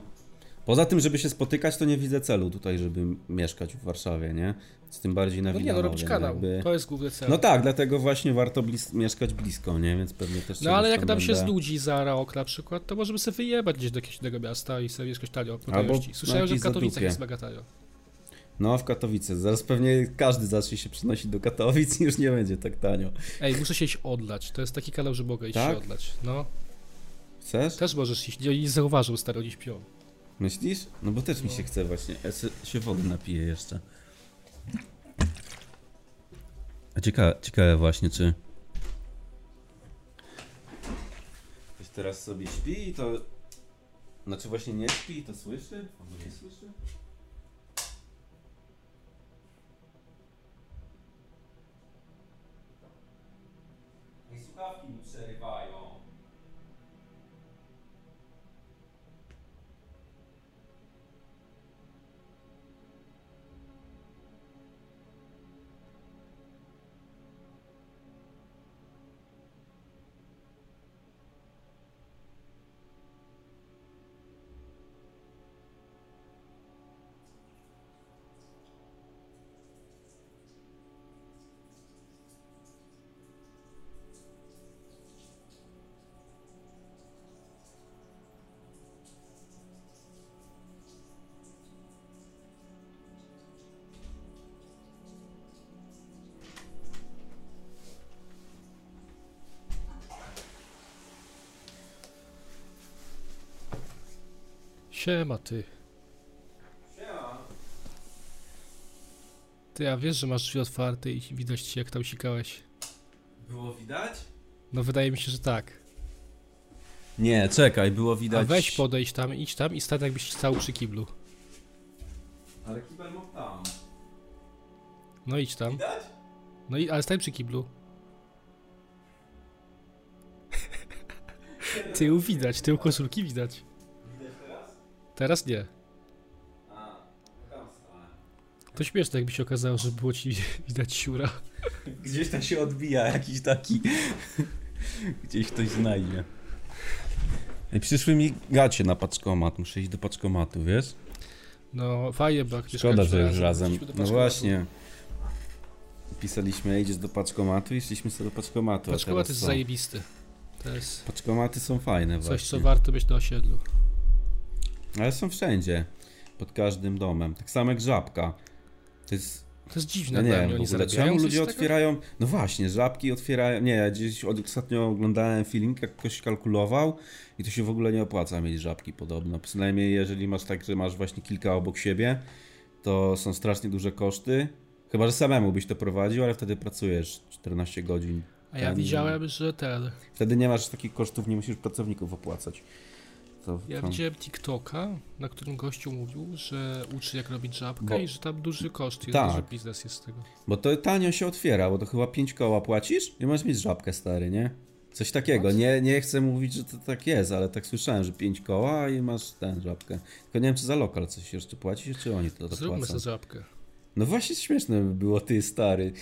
S2: Poza tym, żeby się spotykać, to nie widzę celu tutaj, żeby mieszkać w Warszawie, nie? Z tym bardziej na
S1: No nie, no
S2: Wilanowie,
S1: robić kanał,
S2: jakby-
S1: to jest główny cel.
S2: No tak, dlatego właśnie warto blis- mieszkać blisko, nie? Więc pewnie też
S1: No ale
S2: czegoś
S1: jak nam się
S2: będę-
S1: znudzi za rok na przykład, to możemy sobie wyjebać gdzieś do jakiegoś innego miasta i sobie mieszkać tanio. po
S2: Albo
S1: taniości. Słyszałem, że w
S2: jakieś
S1: Katowicach
S2: zadupie.
S1: jest mega tanio.
S2: No, w Katowice. Zaraz pewnie każdy zacznie się przynosić do Katowic i już nie będzie tak tanio.
S1: Ej, muszę się iść odlać, to jest taki kanał, że mogę iść
S2: Tak?
S1: się odlać. No,
S2: Chcesz?
S1: też możesz iść, nie, nie zauważył stary, oni śpią.
S2: Myślisz? No bo też mi się chce właśnie. Ja se- się wody napiję jeszcze. A ciekawe, ciekawe właśnie, czy... Ktoś teraz sobie śpi i to... Znaczy właśnie nie śpi i to słyszy? Albo nie słyszy? Ej, słuchawki mi przerywają.
S1: Siema ty.
S2: Siema.
S1: Ty, a wiesz, że masz drzwi otwarte i widać ci, jak tam sikałeś?
S2: Było widać?
S1: No wydaje mi się, że tak.
S2: Nie, czekaj, było
S1: A
S2: widać.
S1: weź podejść tam, idź tam i stan jakbyś stał przy kiblu.
S2: Ale kibel mam tam.
S1: No idź tam.
S2: Widać?
S1: No i ale stań przy kiblu. Tył widać, tył koszulki widać.
S2: Widać teraz?
S1: Teraz nie.
S2: A, tam stałem.
S1: To śmieszne, jakby się okazało, że było ci widać siura.
S2: Gdzieś tam się odbija jakiś taki. Gdzieś ktoś znajdzie. Ej, przyszły mi gacie na paczkomat, muszę iść do paczkomatu, wiesz?
S1: No, fajnie, bo jak
S2: Szkoda,
S1: mieszkaliśmy
S2: że już razem.
S1: chodziliśmy do
S2: No
S1: paczkomatu.
S2: właśnie. Pisaliśmy, idziesz do paczkomatu i szliśmy sobie do paczkomatu. a
S1: Paczkomat
S2: teraz
S1: jest
S2: są-
S1: zajebisty. To jest
S2: Paczkomaty są fajne
S1: coś,
S2: właśnie.
S1: co warto mieć na osiedlu.
S2: Ale są wszędzie. Pod każdym domem. Tak samo jak żabka. To jest
S1: To jest dziwne
S2: Ja No nie
S1: dla mnie,
S2: wiem, w
S1: No oni
S2: ogóle,
S1: zarabiają
S2: czemu
S1: coś
S2: ludzie
S1: z tego?
S2: otwierają... No właśnie, żabki otwierają... Nie, ja gdzieś od- ostatnio oglądałem filmik, jak ktoś kalkulował i to się w ogóle nie opłaca mieć żabki podobno. Przynajmniej jeżeli masz tak, że masz właśnie kilka obok siebie, to są strasznie duże koszty. Chyba, że samemu byś to prowadził, ale wtedy pracujesz 14 godzin.
S1: A ja
S2: Ten-
S1: widziałem, że ten...
S2: Wtedy nie masz takich kosztów, nie musisz pracowników opłacać. To,
S1: Ja
S2: to...
S1: widziałem TikToka, na którym gościu mówił, że uczy jak robić żabkę
S2: Bo-
S1: i że tam duży koszt jest,
S2: Tak.
S1: duży biznes jest z tego.
S2: Bo to tanio się otwiera, bo to chyba 5 koła płacisz i możesz mieć żabkę, stary, nie? Coś takiego. Nie, nie chcę mówić, że to tak jest, ale tak słyszałem, że pięć koła i masz tę żabkę. Tylko nie wiem, czy za lokal coś jeszcze płacisz, czy oni to
S1: Zróbmy
S2: płacą.
S1: sobie żabkę.
S2: No właśnie śmieszne by było, ty stary.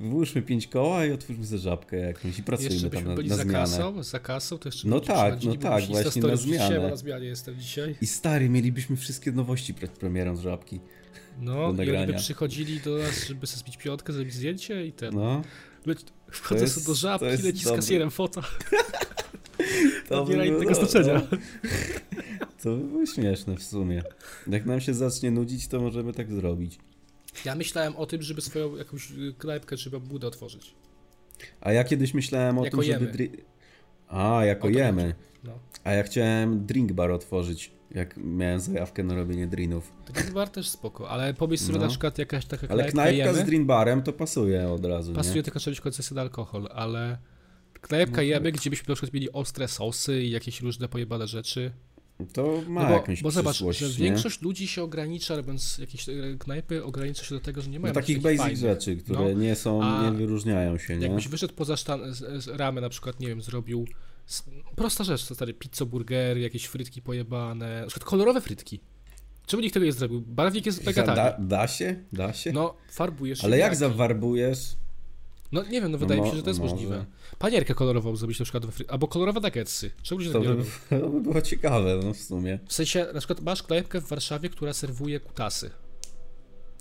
S2: Włóżmy pięć koła i otwórzmy sobie żabkę jakąś i pracujmy
S1: Jeszcze
S2: tam
S1: byśmy
S2: na,
S1: byli
S2: na
S1: za
S2: zmianę.
S1: kasą, za kasą, to jeszcze
S2: No
S1: byśmy
S2: tak,
S1: przychodzili,
S2: no
S1: byśmy
S2: tak,
S1: szli za
S2: właśnie
S1: stolik,
S2: na
S1: dzisiaj,
S2: zmianę.
S1: bo na zmianie jestem dzisiaj.
S2: I stary, mielibyśmy wszystkie nowości przed premierą z żabki.
S1: No, i oni by
S2: nagrania.
S1: przychodzili do nas, żeby sobie zbić piątkę, zrobić zdjęcie i ten.
S2: No.
S1: Leci- Wchodzę
S2: jest-
S1: sobie do
S2: to jest
S1: żabki, leci z
S2: dobry.
S1: kasjerem foto.
S2: To
S1: Nie ma
S2: by było-
S1: innego znaczenia.
S2: no, To by było śmieszne w sumie. Jak nam się zacznie nudzić, to możemy tak zrobić.
S1: Ja myślałem o tym, żeby swoją jakąś y, knajpkę czy babudę otworzyć.
S2: A ja kiedyś myślałem o
S1: Jako
S2: tym, żeby...
S1: jemy.
S2: dri- A, jako
S1: O to
S2: jemy.
S1: chodzi. No.
S2: A ja chciałem drink bar otworzyć, jak miałem zajawkę na robienie drinów.
S1: To Tak jest bar też spoko, ale powiedz sobie
S2: No.
S1: na przykład jakaś taka
S2: Ale
S1: knajpka,
S2: knajpka z
S1: jemy.
S2: drink barem to pasuje od razu,
S1: Pasuje
S2: nie? No
S1: tylko trzeba mieć koncesję na alkohol, ale knajpka jemy, gdzie byśmy na przykład mieli ostre sosy i jakieś różne pojebane rzeczy.
S2: To ma
S1: No bo,
S2: jakąś
S1: bo zobacz,
S2: przyszłość,
S1: że
S2: nie?
S1: większość ludzi się ogranicza, robiąc jakieś e, knajpy, ogranicza się do tego, że nie
S2: No,
S1: mają
S2: takich
S1: jakichś
S2: basic
S1: fajnych.
S2: rzeczy, które
S1: No,
S2: nie są,
S1: a
S2: nie wyróżniają się, nie?
S1: Jakbyś wyszedł poza sztan- z, z ramy, na przykład, nie wiem, zrobił s- prosta rzecz, to stary, pizzo, burgery, jakieś frytki pojebane, na przykład kolorowe frytki. Czemu nikt tego nie zrobił? Barwnik jest mega
S2: Da,
S1: tani.
S2: da się? Da się?
S1: No, farbujesz
S2: Ale jak
S1: ziemniaki.
S2: zawarbujesz?
S1: No nie wiem, no wydaje
S2: No
S1: mi się, że to jest
S2: mo- może.
S1: możliwe. Panierkę kolorową zrobić na przykład, we fry- albo kolorowe nuggetsy. Czemu ludzie
S2: To
S1: tak nie
S2: by,
S1: robią?
S2: to by było ciekawe, no w sumie.
S1: W sensie, na przykład masz knajpkę w Warszawie, która serwuje kutasy.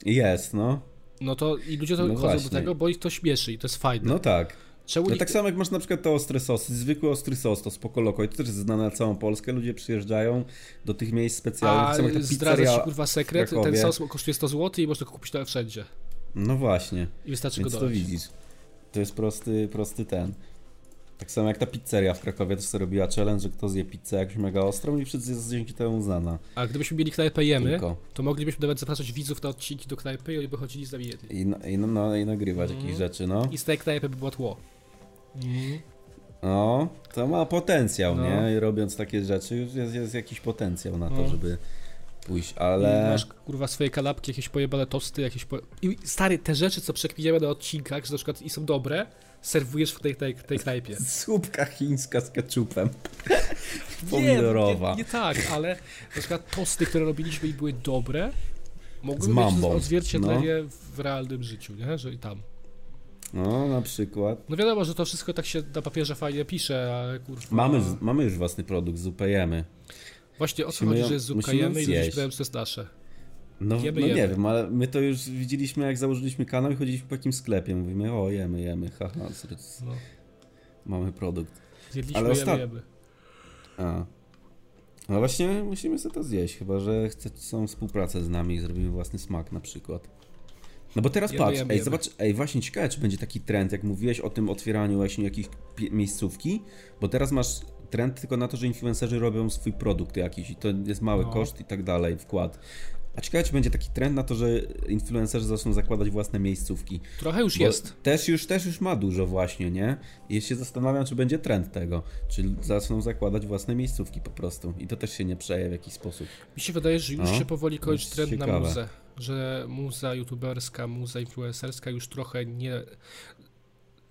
S2: Jest, no.
S1: No to i ludzie to
S2: No
S1: chodzą
S2: właśnie.
S1: do tego, bo ich to śmieszy i to jest fajne.
S2: No tak.
S1: Czemu
S2: No
S1: nikt...
S2: tak samo jak masz na przykład te ostre sosy, zwykły ostry sos, to spoko loko. I to też jest znane na całą Polskę. Ludzie przyjeżdżają do tych miejsc specjalnych.
S1: A y, e,
S2: tak samo jak ta
S1: zdradza
S2: pizzeria-
S1: ci kurwa sekret,
S2: w Krakowie.
S1: ten sos kosztuje 100 zł i można go kupić na wszędzie.
S2: No właśnie.
S1: I wystarczy go
S2: Więc to
S1: dodać.
S2: widzisz. To jest prosty, prosty ten. Tak samo jak ta pizzeria w Krakowie też sobie robiła challenge, że kto zje pizzę jakąś mega ostrą i wszyscy jest dzięki temu znana.
S1: A gdybyśmy mieli knajpę jemy,
S2: Tylko.
S1: to moglibyśmy nawet zapraszać widzów na odcinki do knajpy i oni by chodzili z nami jedni.
S2: I, na- i, no, no, i nagrywać
S1: Mhm.
S2: jakieś rzeczy, no.
S1: I z tej knajpy by było tło.
S2: No, to ma potencjał,
S1: No.
S2: nie? I robiąc takie rzeczy już jest, jest jakiś potencjał na to,
S1: No.
S2: żeby pójść,
S1: I
S2: ale...
S1: masz kurwa swoje kanapki, jakieś pojebane tosty, jakieś po... I stary, te rzeczy, co przekminiamy na odcinkach, że na przykład i są dobre, serwujesz w tej, tej, tej knajpie.
S2: Słupka chińska z ketchupem.
S1: Nie,
S2: Pomidorowa.
S1: nie, nie tak, ale na przykład tosty, które robiliśmy i były dobre,
S2: Z
S1: mogły mieć
S2: mambą,
S1: odzwierciedlenie w realnym życiu, nie? Że i tam.
S2: No, na przykład.
S1: No wiadomo, że to wszystko tak się na papierze fajnie pisze, ale kurwa.
S2: Mamy, mamy już własny produkt, zupejemy.
S1: Właśnie o co
S2: musimy
S1: chodzi,
S2: ją-
S1: że jest zupka
S2: musimy ją
S1: jemy i ludzie
S2: zjeść.
S1: pytają, czy to jest nasze.
S2: No,
S1: Jemy,
S2: no nie
S1: jemy.
S2: wiem, ale my to już widzieliśmy, jak założyliśmy kanał i chodziliśmy po takim sklepie. Mówimy, o, jemy, jemy, haha, sr-
S1: No.
S2: mamy produkt.
S1: Zjedliśmy,
S2: Ale
S1: jemy,
S2: ostat-
S1: jemy.
S2: A. No właśnie, musimy sobie to zjeść, chyba że chcą współpracę z nami i zrobimy własny smak na przykład. No bo teraz
S1: Jemy,
S2: patrz,
S1: jemy,
S2: ej,
S1: jemy.
S2: zobacz, ej, właśnie ciekawe, czy będzie taki trend, jak mówiłeś o tym otwieraniu właśnie jakichś pie- miejscówki, bo teraz masz trend tylko na to, że influencerzy robią swój produkt jakiś i to jest mały
S1: No.
S2: koszt i tak dalej, wkład. A ciekawe, czy będzie taki trend na to, że influencerzy zaczną zakładać własne miejscówki.
S1: Trochę już
S2: Bo
S1: jest.
S2: Też już, też już ma dużo właśnie, nie? I się zastanawiam, czy będzie trend tego. Czy zaczną zakładać własne miejscówki po prostu. I to też się nie przeje w jakiś sposób.
S1: Mi się wydaje, że już
S2: No,
S1: się powoli kończy
S2: jest
S1: trend na
S2: ciekawe.
S1: muzę. Że muza youtuberska, muza influencerska już trochę nie.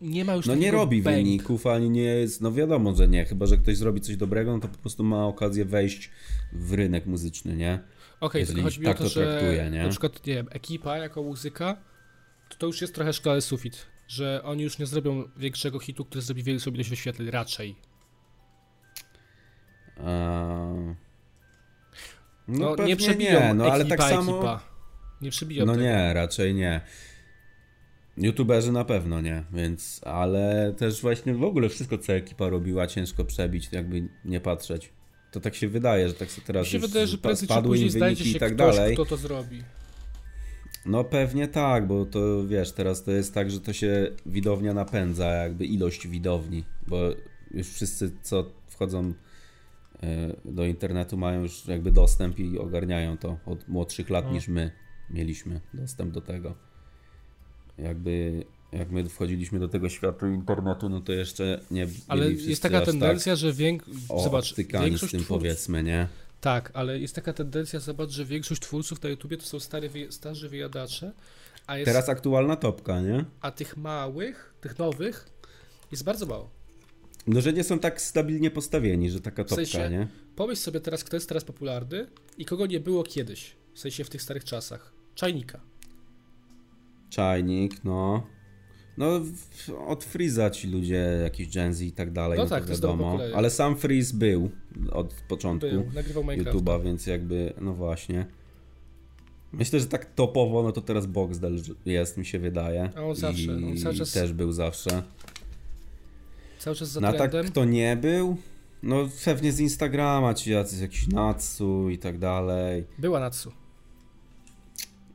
S1: Nie ma już
S2: No nie
S1: takiego
S2: robi
S1: bang.
S2: wyników, ani nie jest, no wiadomo, że nie. Chyba, że ktoś zrobi coś dobrego, no to po prostu ma okazję wejść w rynek muzyczny, nie?
S1: Okej,
S2: Jeżeli
S1: tylko chodzi mi
S2: tak
S1: o to,
S2: to
S1: że
S2: traktuje, nie?
S1: na przykład, nie wiem, ekipa jako muzyka, to to już jest trochę szklany sufit, że oni już nie zrobią większego hitu, który zrobi wielu sobie wyświetleń, raczej.
S2: Eee,
S1: No,
S2: pewnie
S1: nie przebiją
S2: nie, no
S1: ekipa,
S2: ale tak samo.
S1: ekipa. Nie przebiją
S2: No
S1: tego.
S2: nie, raczej nie. YouTuberzy na pewno nie, więc, ale też właśnie w ogóle wszystko, co ekipa robiła, ciężko przebić, jakby nie patrzeć. To tak się wydaje, że tak sobie teraz
S1: Mi się
S2: już
S1: wydaje, że
S2: spa-
S1: prędzej czy
S2: spadły im
S1: później znajdzie
S2: wyniki
S1: się
S2: i tak
S1: ktoś,
S2: dalej.
S1: kto to zrobi.
S2: No pewnie tak, bo to wiesz, teraz to jest tak, że to się widownia napędza, jakby ilość widowni, bo już wszyscy, co wchodzą e, do internetu, mają już jakby dostęp i ogarniają to od młodszych lat
S1: No.
S2: niż my mieliśmy dostęp do tego. Jakby jak my wchodziliśmy do tego świata internetu, no to jeszcze nie
S1: Ale
S2: byli wszyscy
S1: jest taka
S2: aż
S1: tendencja, że wiek...
S2: tak o,
S1: zobacz,
S2: wtykani z
S1: większość
S2: tym
S1: twórców...
S2: powiedzmy, nie?
S1: Tak, ale jest taka tendencja, zobacz, że większość twórców na YouTubie to są stary, wyje- starzy wyjadacze, a, jest...
S2: Teraz aktualna topka, nie?
S1: a tych małych, tych nowych jest bardzo mało.
S2: No, że nie są tak stabilnie postawieni, że taka
S1: W
S2: topka,
S1: sensie-
S2: nie?
S1: Pomyśl sobie teraz, kto jest teraz popularny i kogo nie było kiedyś, w sensie w tych starych czasach. Czajnika.
S2: Czajnik, no. No, w- od Freeza ci ludzie, jakiś Gen Z i tak dalej,
S1: No
S2: no,
S1: tak, to
S2: to
S1: jest nowe
S2: wiadomo.
S1: pokolenie.
S2: Ale sam Freeze był od początku
S1: Był, nagrywał Minecraft.
S2: YouTube'a, więc jakby, no właśnie. Myślę, że tak topowo, no to teraz Boxdel jest, mi się wydaje.
S1: A on zawsze,
S2: I
S1: on cały czas-
S2: też był zawsze.
S1: Cały czas za
S2: No a tak
S1: trendem.
S2: kto nie był, no pewnie z Instagrama, ci jacyś jakiś Natsu i tak dalej.
S1: Była Natsu.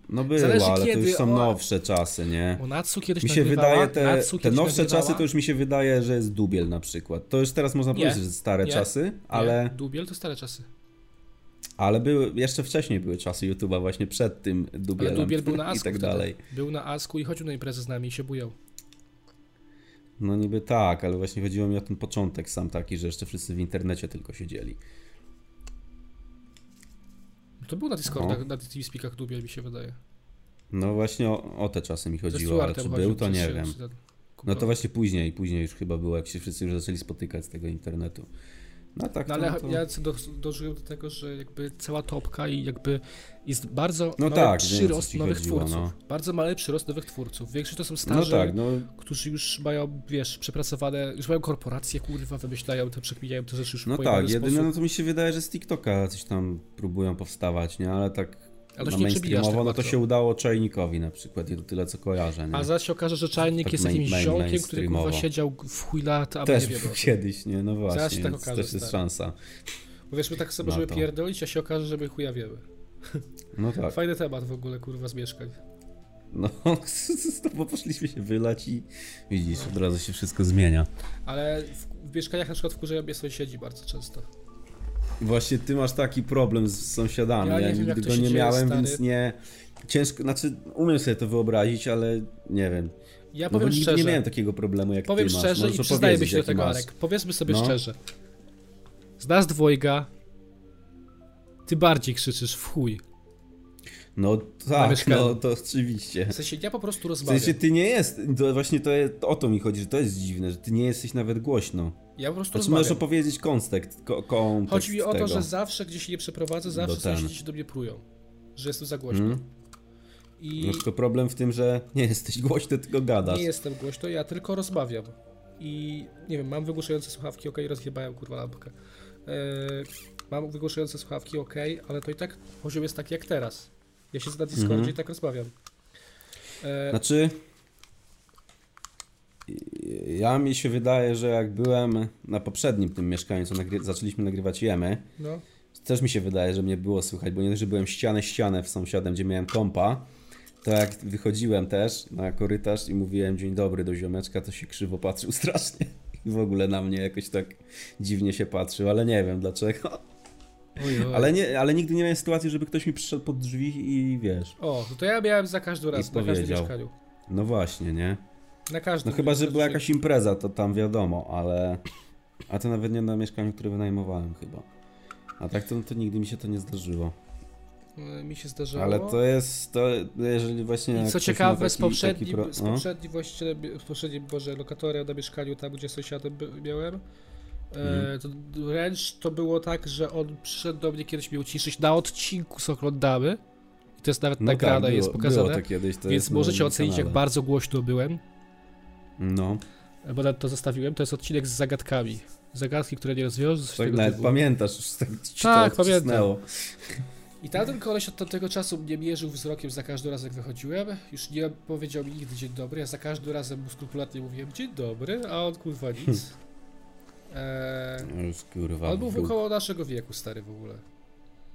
S2: No było,
S1: Zależy
S2: ale to
S1: kiedy,
S2: już są
S1: o-
S2: nowsze czasy, nie?
S1: Bo Natsu kiedyś
S2: Mi się
S1: nagrywała,
S2: wydaje, te,
S1: Natsu
S2: te
S1: kiedyś
S2: nowsze
S1: nagrywała.
S2: czasy to już mi się wydaje, że jest dubiel na przykład. To już teraz można
S1: Nie.
S2: powiedzieć, że stare
S1: Nie.
S2: czasy,
S1: Nie,
S2: ale,
S1: Dubiel to stare czasy.
S2: ale były, jeszcze wcześniej były czasy YouTube'a właśnie przed tym
S1: Ale
S2: dubielem
S1: Dubiel był na
S2: i
S1: Asku
S2: tak
S1: wtedy.
S2: dalej.
S1: Był na Asku i chodził na imprezę z nami i się bujał.
S2: No niby tak, ale właśnie chodziło mi o ten początek sam taki, że jeszcze wszyscy w internecie tylko siedzieli.
S1: To był na Discordach, na TeamSpeakach Dubiel mi się wydaje.
S2: No właśnie o, o te czasy mi
S1: Ze
S2: chodziło, ale
S1: Stuartem
S2: czy
S1: chodził
S2: był, to
S1: przez
S2: nie
S1: się-
S2: wiem.
S1: przez ten kupon.
S2: No to właśnie później, później już chyba było, jak się wszyscy już zaczęli spotykać z tego internetu. No tak,
S1: No ale
S2: to, to...
S1: ja co do, dożyłem do tego, że jakby cała topka i jakby jest bardzo
S2: No
S1: mały
S2: tak, wiem, o co
S1: przyrost
S2: ci
S1: nowych
S2: chodziło,
S1: twórców. Bardzo mały przyrost nowych twórców. Większość to są
S2: No
S1: starzy,
S2: tak, no
S1: którzy już mają, wiesz, przepracowane, już mają korporacje, kurwa, wymyślają te, przekminiają te rzeczy już
S2: No
S1: w pojebany
S2: tak, jedyne
S1: sposób.
S2: no to mi się wydaje, że z TikToka coś tam próbują powstawać, nie? Ale tak
S1: Ale to
S2: na
S1: się nie przebijasz tak
S2: mainstreamowo, no to
S1: łatwo.
S2: się udało Czajnikowi na przykład i to tyle co kojarzę, nie?
S1: A zaś się okaże, że czajnik
S2: Tak
S1: jest
S2: main-
S1: jakimś
S2: main-
S1: ziomkiem, który
S2: mainstreamowo.
S1: kurwa siedział w chuj lat, a
S2: Też
S1: nie wiem.
S2: był
S1: o tym.
S2: kiedyś, nie? No właśnie,
S1: Zaraz się tak
S2: więc
S1: okaże,
S2: też jest
S1: stary.
S2: szansa.
S1: Bo wiesz, my tak sobie
S2: No
S1: możemy
S2: to.
S1: pierdolić, a się okaże, że my chuja wiemy.
S2: No tak,
S1: Fajny temat w ogóle, kurwa, z mieszkań.
S2: no bo poszliśmy się wylać i widzisz, od razu się wszystko zmienia.
S1: Ale w, w mieszkaniach na przykład wkurzają mnie sąsiedzi bardzo często.
S2: Właśnie ty masz taki problem z sąsiadami,
S1: Ja
S2: ja,
S1: nie wiem, jak
S2: nigdy
S1: to
S2: go
S1: się
S2: nie
S1: dzieje,
S2: miałem,
S1: stary.
S2: więc nie... Ciężko, znaczy umiem sobie to wyobrazić, ale nie wiem.
S1: Ja
S2: no bo
S1: powiem
S2: nigdy
S1: szczerze.
S2: nie miałem takiego problemu jak
S1: Powiem
S2: ty masz.
S1: szczerze
S2: Możesz
S1: i przyznajmy
S2: opowiedzieć,
S1: się do
S2: jaki
S1: tego,
S2: masz.
S1: Arek. Powiedzmy sobie
S2: No.
S1: szczerze. Z nas dwojga ty bardziej krzyczysz w chuj.
S2: No tak,
S1: mieszkaniu.
S2: no to oczywiście.
S1: W sensie ja po prostu
S2: W
S1: rozmawiam.
S2: sensie ty nie jest, to właśnie to jest, o to mi chodzi, że to jest dziwne, że ty nie jesteś nawet głośno.
S1: Ja po prostu
S2: Znaczy możesz
S1: rozmawiam.
S2: opowiedzieć kontekst, ko, kontekst
S1: Chodzi mi o to,
S2: tego. No tak.
S1: że zawsze gdzie się nie przeprowadzę, zawsze
S2: Do ten.
S1: sąsiedzi się do mnie prują. Że jestem za głośno. I
S2: Mhm. No tylko problem w tym, że nie jesteś głośny, tylko gadasz.
S1: nie jestem głośno, ja tylko rozmawiam. I nie wiem, mam wygłuszające słuchawki, okej, rozjebałem kurwa lampkę. Eee, mam wygłuszające słuchawki, okej, ale to i tak poziom jest taki jak teraz. Ja siedzę na Discordzie
S2: Mhm.
S1: i tak rozmawiam. Eee,
S2: Znaczy, ja mi się wydaje, że jak byłem na poprzednim tym mieszkaniu, co nagry zaczęliśmy nagrywać jemy,
S1: no.
S2: też mi się wydaje, że mnie było słychać, bo nie dość, że byłem ścianę ścianę w sąsiadem, gdzie miałem kompa, to jak wychodziłem też na korytarz i mówiłem dzień dobry do ziomeczka, to się krzywo patrzył strasznie. I w ogóle na mnie jakoś tak dziwnie się patrzył, ale nie wiem dlaczego.
S1: Oj, oj.
S2: Ale, nie, ale nigdy nie miałem sytuacji, żeby ktoś mi przyszedł pod drzwi i wiesz.
S1: O, to ja miałem za każdym
S2: I
S1: razem, na każdym
S2: powiedział.
S1: mieszkaniu.
S2: No właśnie, nie?
S1: Na każdym.
S2: No chyba, że
S1: każdym
S2: była
S1: się-
S2: jakaś impreza, to tam wiadomo, ale... A to nawet nie na mieszkaniu, które wynajmowałem chyba. A tak to, to nigdy mi się to nie zdarzyło.
S1: e, Mi się zdarzało.
S2: Ale to jest, to jeżeli właśnie...
S1: I
S2: jak
S1: co
S2: ktoś ma
S1: ciekawe,
S2: taki-
S1: z poprzednim,
S2: taki pro-
S1: z
S2: no.
S1: poprzednim właścicielem, z poprzednim, Boże, lokatorem na mieszkaniu, tam gdzie sąsiadem by- miałem,
S2: Mhm.
S1: e, to wręcz to było tak, że on przyszedł do mnie kiedyś mnie uciszyć na odcinku, co oglądamy. I to jest nawet
S2: No
S1: nagrane,
S2: tak,
S1: jest
S2: było-
S1: pokazane.
S2: Było to kiedyś, to
S1: więc
S2: jest na
S1: możecie
S2: moim
S1: ocenić, jak
S2: kanale.
S1: bardzo głośno byłem,
S2: No,
S1: bo nawet to zostawiłem. To jest odcinek z zagadkami. Zagadki, które nie rozwiążą, coś
S2: tak
S1: tego
S2: nawet
S1: typu.
S2: pamiętasz, już tak ci to
S1: Tak, pamiętam.
S2: odcisnęło.
S1: I tamten koleś od tamtego czasu mnie mierzył wzrokiem za każdym razem, jak wychodziłem. Już nie powiedział mi nigdy dzień dobry, ja za każdym razem mu skrupulatnie mówiłem dzień dobry, a on kurwa nic. Eee,
S2: No Już kurwa.
S1: on był
S2: wróg.
S1: około naszego wieku, stary w ogóle.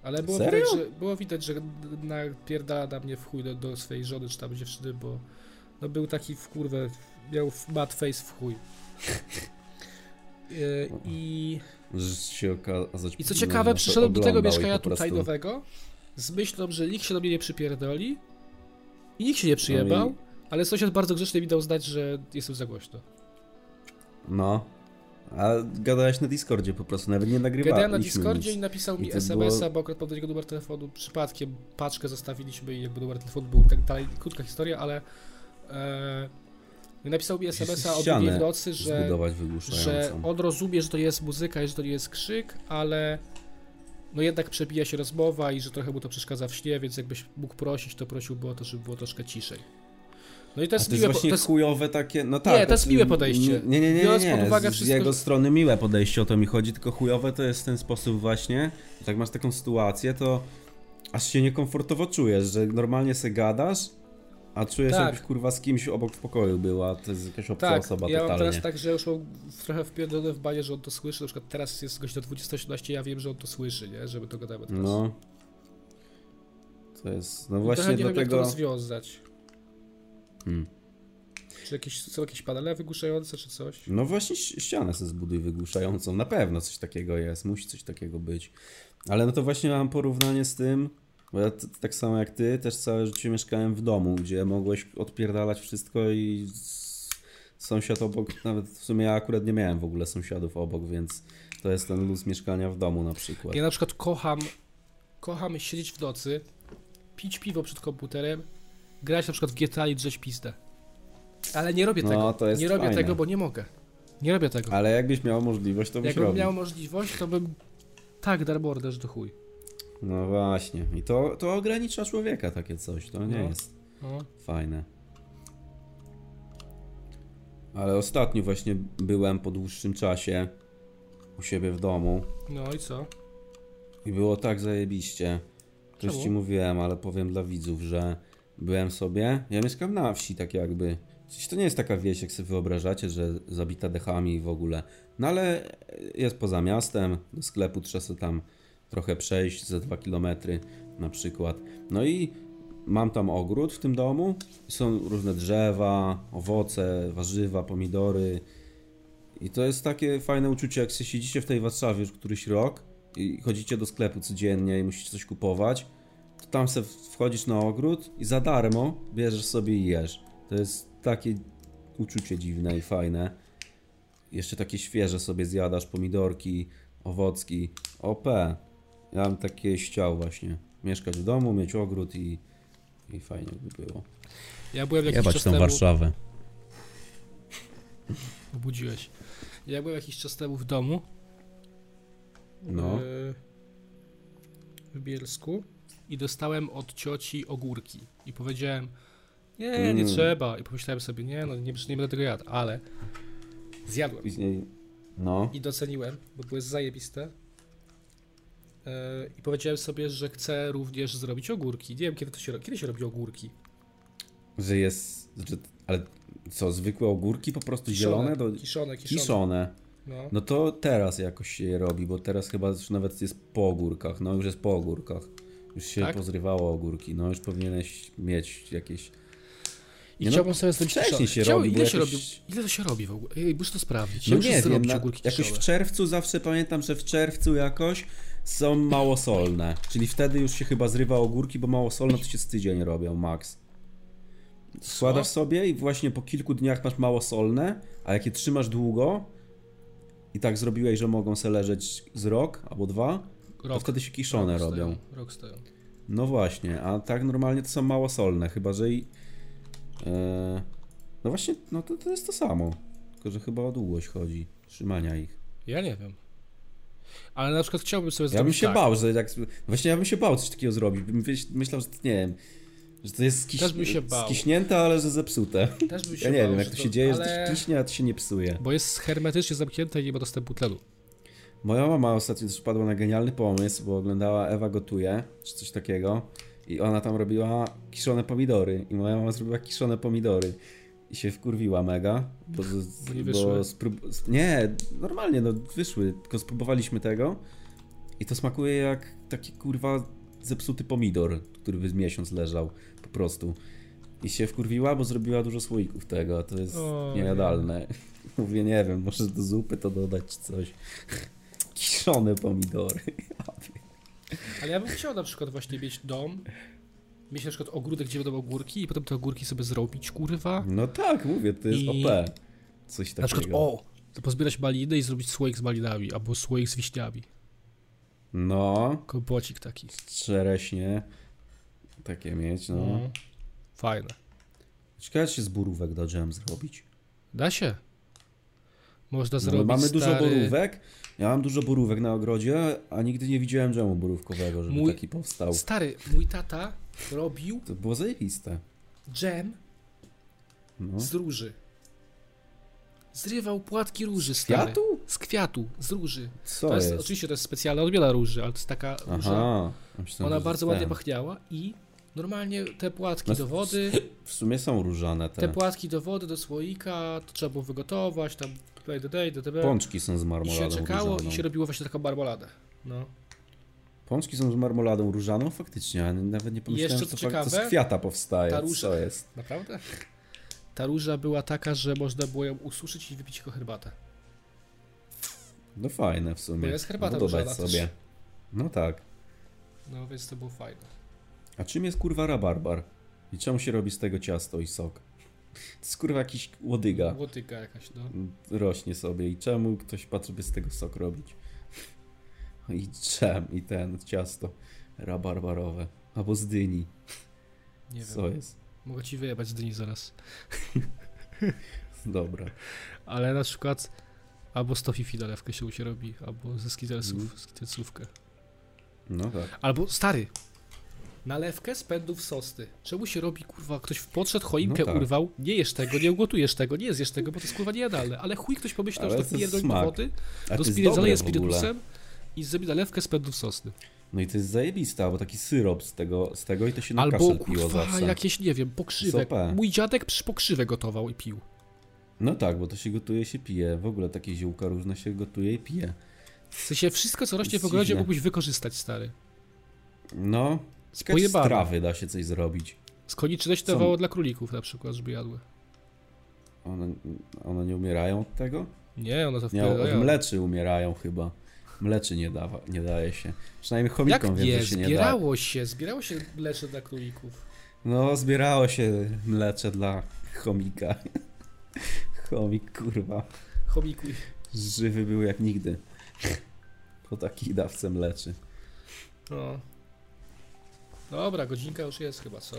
S1: Ale było
S2: Serio?
S1: widać, że, było widać, że napierdala na mnie w chuj do, do swojej żony czy tam dziewczyny, bo no był taki w kurwę, miał w- mad face w chuj. Eee, I
S2: Że się okazać,
S1: i co
S2: no,
S1: ciekawe,
S2: że
S1: przyszedłem do tego
S2: oglądał i
S1: mieszkania
S2: po
S1: tutaj
S2: prostu-
S1: nowego z myślą, że nikt się do mnie nie przypierdoli i nikt się nie przyjebał,
S2: No i-
S1: ale sąsiad bardzo grzecznie mi dał znać, że jestem za głośno.
S2: No. A gadałeś na Discordzie po prostu, nawet nie nagrywałeś.
S1: Gadałem na Discordzie i napisał
S2: I
S1: mi
S2: to
S1: SMS-a,
S2: było-
S1: bo akurat pod jego numer telefonu przypadkiem paczkę zostawiliśmy i jakby numer telefonu był i tak dalej. Krótka historia, ale e, I napisał mi SMS-a o
S2: Ścianę
S1: drugiej w nocy, że,
S2: Zbudować wygłuszającą.
S1: że on rozumie, że to jest muzyka i że to nie jest krzyk, ale no jednak przebija się rozmowa i że trochę mu to przeszkadza w śnie, więc jakbyś mógł prosić, to prosiłby o to, żeby było troszkę ciszej. No i to
S2: A
S1: jest
S2: to jest
S1: miłe, po-
S2: właśnie
S1: to jest
S2: chujowe takie, no tak.
S1: Nie, to jest miłe podejście.
S2: Nie, nie, nie, nie,
S1: Biorąc
S2: nie.
S1: pod uwagę
S2: z
S1: wszystko-
S2: jego strony miłe podejście, o to mi chodzi, tylko chujowe to jest w ten sposób właśnie, że jak masz taką sytuację, to aż się niekomfortowo czujesz, że normalnie se gadasz, a czujesz
S1: Tak.
S2: jakbyś kurwa z kimś obok w pokoju była, to jest jakaś obca
S1: Tak,
S2: osoba
S1: ja mam
S2: totalnie.
S1: teraz tak, że już mam w- trochę wpierdolone w banie, że on to słyszy, na przykład teraz jest godzina 20.18, ja wiem, że on to słyszy, nie? Że my to gadamy teraz. No,
S2: No. To jest, no
S1: trochę
S2: właśnie
S1: nie wiem, jak to
S2: dlatego...
S1: rozwiązać.
S2: Hmm.
S1: Czy jakieś, są jakieś panele wygłuszające, czy coś?
S2: No właśnie ś- ścianę sobie zbuduj wygłuszającą, na pewno coś takiego jest, musi coś takiego być. Ale no to właśnie mam porównanie z tym, bo ja t- tak samo jak ty, też całe życie mieszkałem w domu, gdzie mogłeś odpierdalać wszystko i s- sąsiad obok, nawet w sumie ja akurat nie miałem w ogóle sąsiadów obok, więc to jest ten luz mieszkania w domu na przykład.
S1: Ja na przykład kocham, kocham siedzieć w nocy, pić piwo przed komputerem, grać na przykład w GTA i drzeć pizdę. Ale nie robię
S2: No,
S1: tego,
S2: to jest
S1: nie robię
S2: fajne.
S1: tego, bo nie mogę. Nie robię tego.
S2: Ale jakbyś miał możliwość, to byś
S1: Jakbym
S2: robił.
S1: miał możliwość, to bym tak darborderz do chuj.
S2: No właśnie. I to, to ogranicza człowieka takie coś, to nie
S1: No.
S2: jest...
S1: No.
S2: Fajne. Ale ostatnio właśnie byłem po dłuższym czasie u siebie w domu
S1: no i co?
S2: i było tak zajebiście. To już
S1: Czemu?
S2: ci mówiłem, ale powiem dla widzów, że byłem sobie. Ja mieszkam na wsi, tak jakby. Przecież to nie jest taka wieś, jak sobie wyobrażacie, że zabita dechami i w ogóle. No ale jest poza miastem, do sklepu trzeba sobie tam trochę przejść ze 2 km na przykład. No i mam tam ogród w tym domu. Są różne drzewa, owoce, warzywa, pomidory. I to jest takie fajne uczucie, jak sobie siedzicie w tej Warszawie już któryś rok i chodzicie do sklepu codziennie i musicie coś kupować, to tam se wchodzisz na ogród i za darmo bierzesz sobie i jesz. To jest takie uczucie dziwne i fajne. Jeszcze takie świeże sobie zjadasz, pomidorki, owocki. OP. Ja bym takie chciał właśnie. Mieszkać w domu, mieć ogród i, i fajnie by było.
S1: Ja byłem jakiś czas temu...
S2: Warszawę.
S1: Obudziłeś. Ja byłem jakiś czas temu w domu.
S2: No.
S1: e, W Bielsku. I dostałem od cioci ogórki. I powiedziałem, nie, nie
S2: Mm.
S1: trzeba. I pomyślałem sobie, nie, no nie, nie będę tego jadł, ale zjadłem.
S2: Później... No.
S1: I doceniłem, bo były zajebiste. E, I powiedziałem sobie, że chcę również zrobić ogórki. Nie wiem, kiedy to się robi. Kiedy się robi ogórki?
S2: Że jest... Że, ale co, zwykłe ogórki po prostu zielone? Do,
S1: Kiszone, kiszone.
S2: kiszone.
S1: No.
S2: No to teraz jakoś się je robi, bo teraz chyba już nawet jest po ogórkach. No już jest po ogórkach. Już się
S1: Tak?
S2: pozrywało ogórki. No już powinieneś mieć jakieś...
S1: I
S2: Nie no,
S1: chciałbym sobie zrobić
S2: wcześniej
S1: kiszone.
S2: się
S1: Chciał-
S2: robi,
S1: ile,
S2: bo
S1: się
S2: jakoś-
S1: robi, ile to się robi w ogóle? Ej, muszę to sprawdzić.
S2: No
S1: Ja muszę
S2: nie wiem,
S1: zrobić
S2: na,
S1: ogórki
S2: jakoś w
S1: kiszowe.
S2: czerwcu zawsze pamiętam, że w czerwcu jakoś są małosolne. Czyli wtedy już się chyba zrywa ogórki, bo małosolne to się z tydzień robią, max. Składasz sobie i właśnie po kilku dniach masz małosolne, a jak je trzymasz długo i tak zrobiłeś, że mogą se leżeć z rok albo dwa, to
S1: Rok.
S2: wtedy się kiszone
S1: Rok
S2: robią.
S1: Stoją, rok stoją.
S2: No właśnie, a tak normalnie to są małosolne, chyba że i. E, no właśnie, no to, to jest to samo. Tylko, że chyba o długość chodzi, trzymania ich.
S1: Ja nie wiem. Ale na przykład chciałbym sobie
S2: Ja bym
S1: zrobić
S2: się
S1: tak.
S2: bał, że jak. Właśnie ja bym się bał coś takiego zrobić. Bym wieś- myślał, że to- nie wiem. Że to jest skiś...
S1: Też bym się bał.
S2: skiśnięte, ale że zepsute.
S1: Też bym się
S2: Ja nie
S1: bał,
S2: wiem, jak
S1: że
S2: to się dzieje, że
S1: ale...
S2: to się kiśnie, a to się nie psuje.
S1: Bo jest hermetycznie zamknięte i nie ma dostępu tlenu.
S2: Moja mama ostatnio też wpadła na genialny pomysł, bo oglądała Ewa gotuje, czy coś takiego. I ona tam robiła kiszone pomidory. I moja mama zrobiła kiszone pomidory. I się wkurwiła mega. Bo, z-
S1: Bo nie wyszły?
S2: sprób- s- nie, normalnie, no wyszły. Tylko spróbowaliśmy tego. I to smakuje jak taki kurwa zepsuty pomidor, który by z miesiąc leżał po prostu. I się wkurwiła, bo zrobiła dużo słoików tego, a to jest
S1: Oj.
S2: niejadalne. Mówię, nie wiem, może do zupy to dodać czy coś. Kiszone pomidory.
S1: Ale ja bym chciał na przykład właśnie mieć dom, mieć na przykład ogródek, gdzie będą ogórki i potem te ogórki sobie zrobić, kurwa.
S2: No tak, mówię, to jest
S1: I-
S2: OP. Coś takiego.
S1: Na przykład, o, to pozbierać maliny i zrobić słoik z malinami, albo słoik z wiśniami.
S2: No,
S1: Kompocik taki.
S2: czereśnie. Takie mieć, no.
S1: Fajne.
S2: Ciekawe, czy z burówek do dżem zrobić.
S1: Da się. Można
S2: No, my
S1: zrobić
S2: mamy
S1: stary...
S2: dużo borówek. Ja mam dużo borówek na ogrodzie, a nigdy nie widziałem dżemu borówkowego, żeby
S1: Mój-
S2: taki powstał.
S1: Stary, mój tata robił
S2: To było zajebiste.
S1: dżem
S2: No.
S1: z róży. Zrywał płatki róży, stary.
S2: Kwiatu?
S1: Z kwiatu, z róży.
S2: Co
S1: to jest,
S2: jest?
S1: Oczywiście to jest specjalna odmiana róży, ale to jest taka róża.
S2: Aha. Ja myślałem,
S1: Ona
S2: że
S1: bardzo
S2: ten.
S1: ładnie pachniała i normalnie te płatki
S2: No, Tak.
S1: do wody,
S2: W sumie są różane te.
S1: te płatki do wody, do słoika, to trzeba było wygotować, tam play the day, do tebe.
S2: Pączki są z
S1: I
S2: marmoladą no.
S1: się czekało
S2: różaną.
S1: i się robiło właśnie taką marmoladę. No.
S2: Pączki są z marmoladą różaną? Faktycznie, ale nawet nie pomyślałem,
S1: jeszcze
S2: że to,
S1: co
S2: fakt, to z
S1: ciekawe,
S2: kwiata powstaje.
S1: ta róża.
S2: Co jest?
S1: Naprawdę? Ta róża była taka, że można było ją ususzyć i wypić jako herbatę.
S2: No fajne w sumie.
S1: Bo jest herbata
S2: no, dodać
S1: różana
S2: sobie.
S1: też.
S2: No tak.
S1: No więc to było fajne.
S2: A czym jest kurwa rabarbar? I czemu się robi z tego ciasto i sok? To jest kurwa jakiś łodyga.
S1: Łotyka jakaś, no.
S2: Rośnie sobie i czemu ktoś patrzy, by z tego sok robić? I czem, i ten ciasto rabarbarowe. Albo z dyni.
S1: Nie
S2: Co
S1: wiem.
S2: jest?
S1: Mogę ci wyjebać z dyni zaraz.
S2: Dobra.
S1: Ale na przykład albo z tofifi dolewkę się u się robi, albo ze skitelsów,
S2: Mhm.
S1: skitelsówkę.
S2: No tak.
S1: Albo stary. Nalewkę z pędów sosty. Czemu się robi, kurwa, ktoś podszedł, choinkę
S2: No tak.
S1: urwał, nie jesz tego, nie ugotujesz tego, nie zjesz tego, bo to jest kurwa niejadalne. Ale chuj ktoś pomyślał,
S2: Ale
S1: że
S2: to
S1: to
S2: jest
S1: pierdol do
S2: smak.
S1: wody,
S2: A
S1: do
S2: to jest
S1: spiry,
S2: dobre
S1: zaleje
S2: w ogóle.
S1: spirytusem i zrobi nalewkę z pędów sosny.
S2: No i to jest zajebista, bo taki syrop z tego, z tego i to się na
S1: Albo
S2: kaszel piło
S1: kurwa,
S2: zawsze.
S1: jakieś, nie wiem, pokrzywek.
S2: Zopę.
S1: Mój dziadek przy pokrzywę gotował i pił.
S2: No tak, bo to się gotuje, się pije. W ogóle takie ziółka różne się gotuje i pije.
S1: W sensie wszystko, co rośnie w
S2: Dziwne.
S1: ogrodzie, mógłbyś wykorzystać, stary.
S2: No, ciekawe, z
S1: Pojebane.
S2: trawy da się coś zrobić.
S1: Z konieczności
S2: Co?
S1: dawało dla królików na przykład, żeby jadły.
S2: One, one nie umierają od tego?
S1: Nie, one to
S2: Nie, od
S1: wpierdalają.
S2: mleczy umierają chyba. Mleczy nie, dawa, nie daje się. Przynajmniej
S1: Jak
S2: chomikom wiem,
S1: nie?
S2: że się nie da.
S1: Zbierało się, zbierało się mlecze dla królików.
S2: No, zbierało się mlecze dla chomika. Chomik, kurwa,
S1: Chomiku.
S2: żywy był jak nigdy. Po takiej dawce mleczy.
S1: No. Dobra, godzinka już jest chyba, co?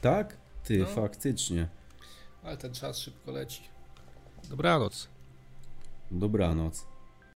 S2: Tak? Ty,
S1: No.
S2: faktycznie.
S1: Ale ten czas szybko leci. Dobranoc.
S2: Dobranoc.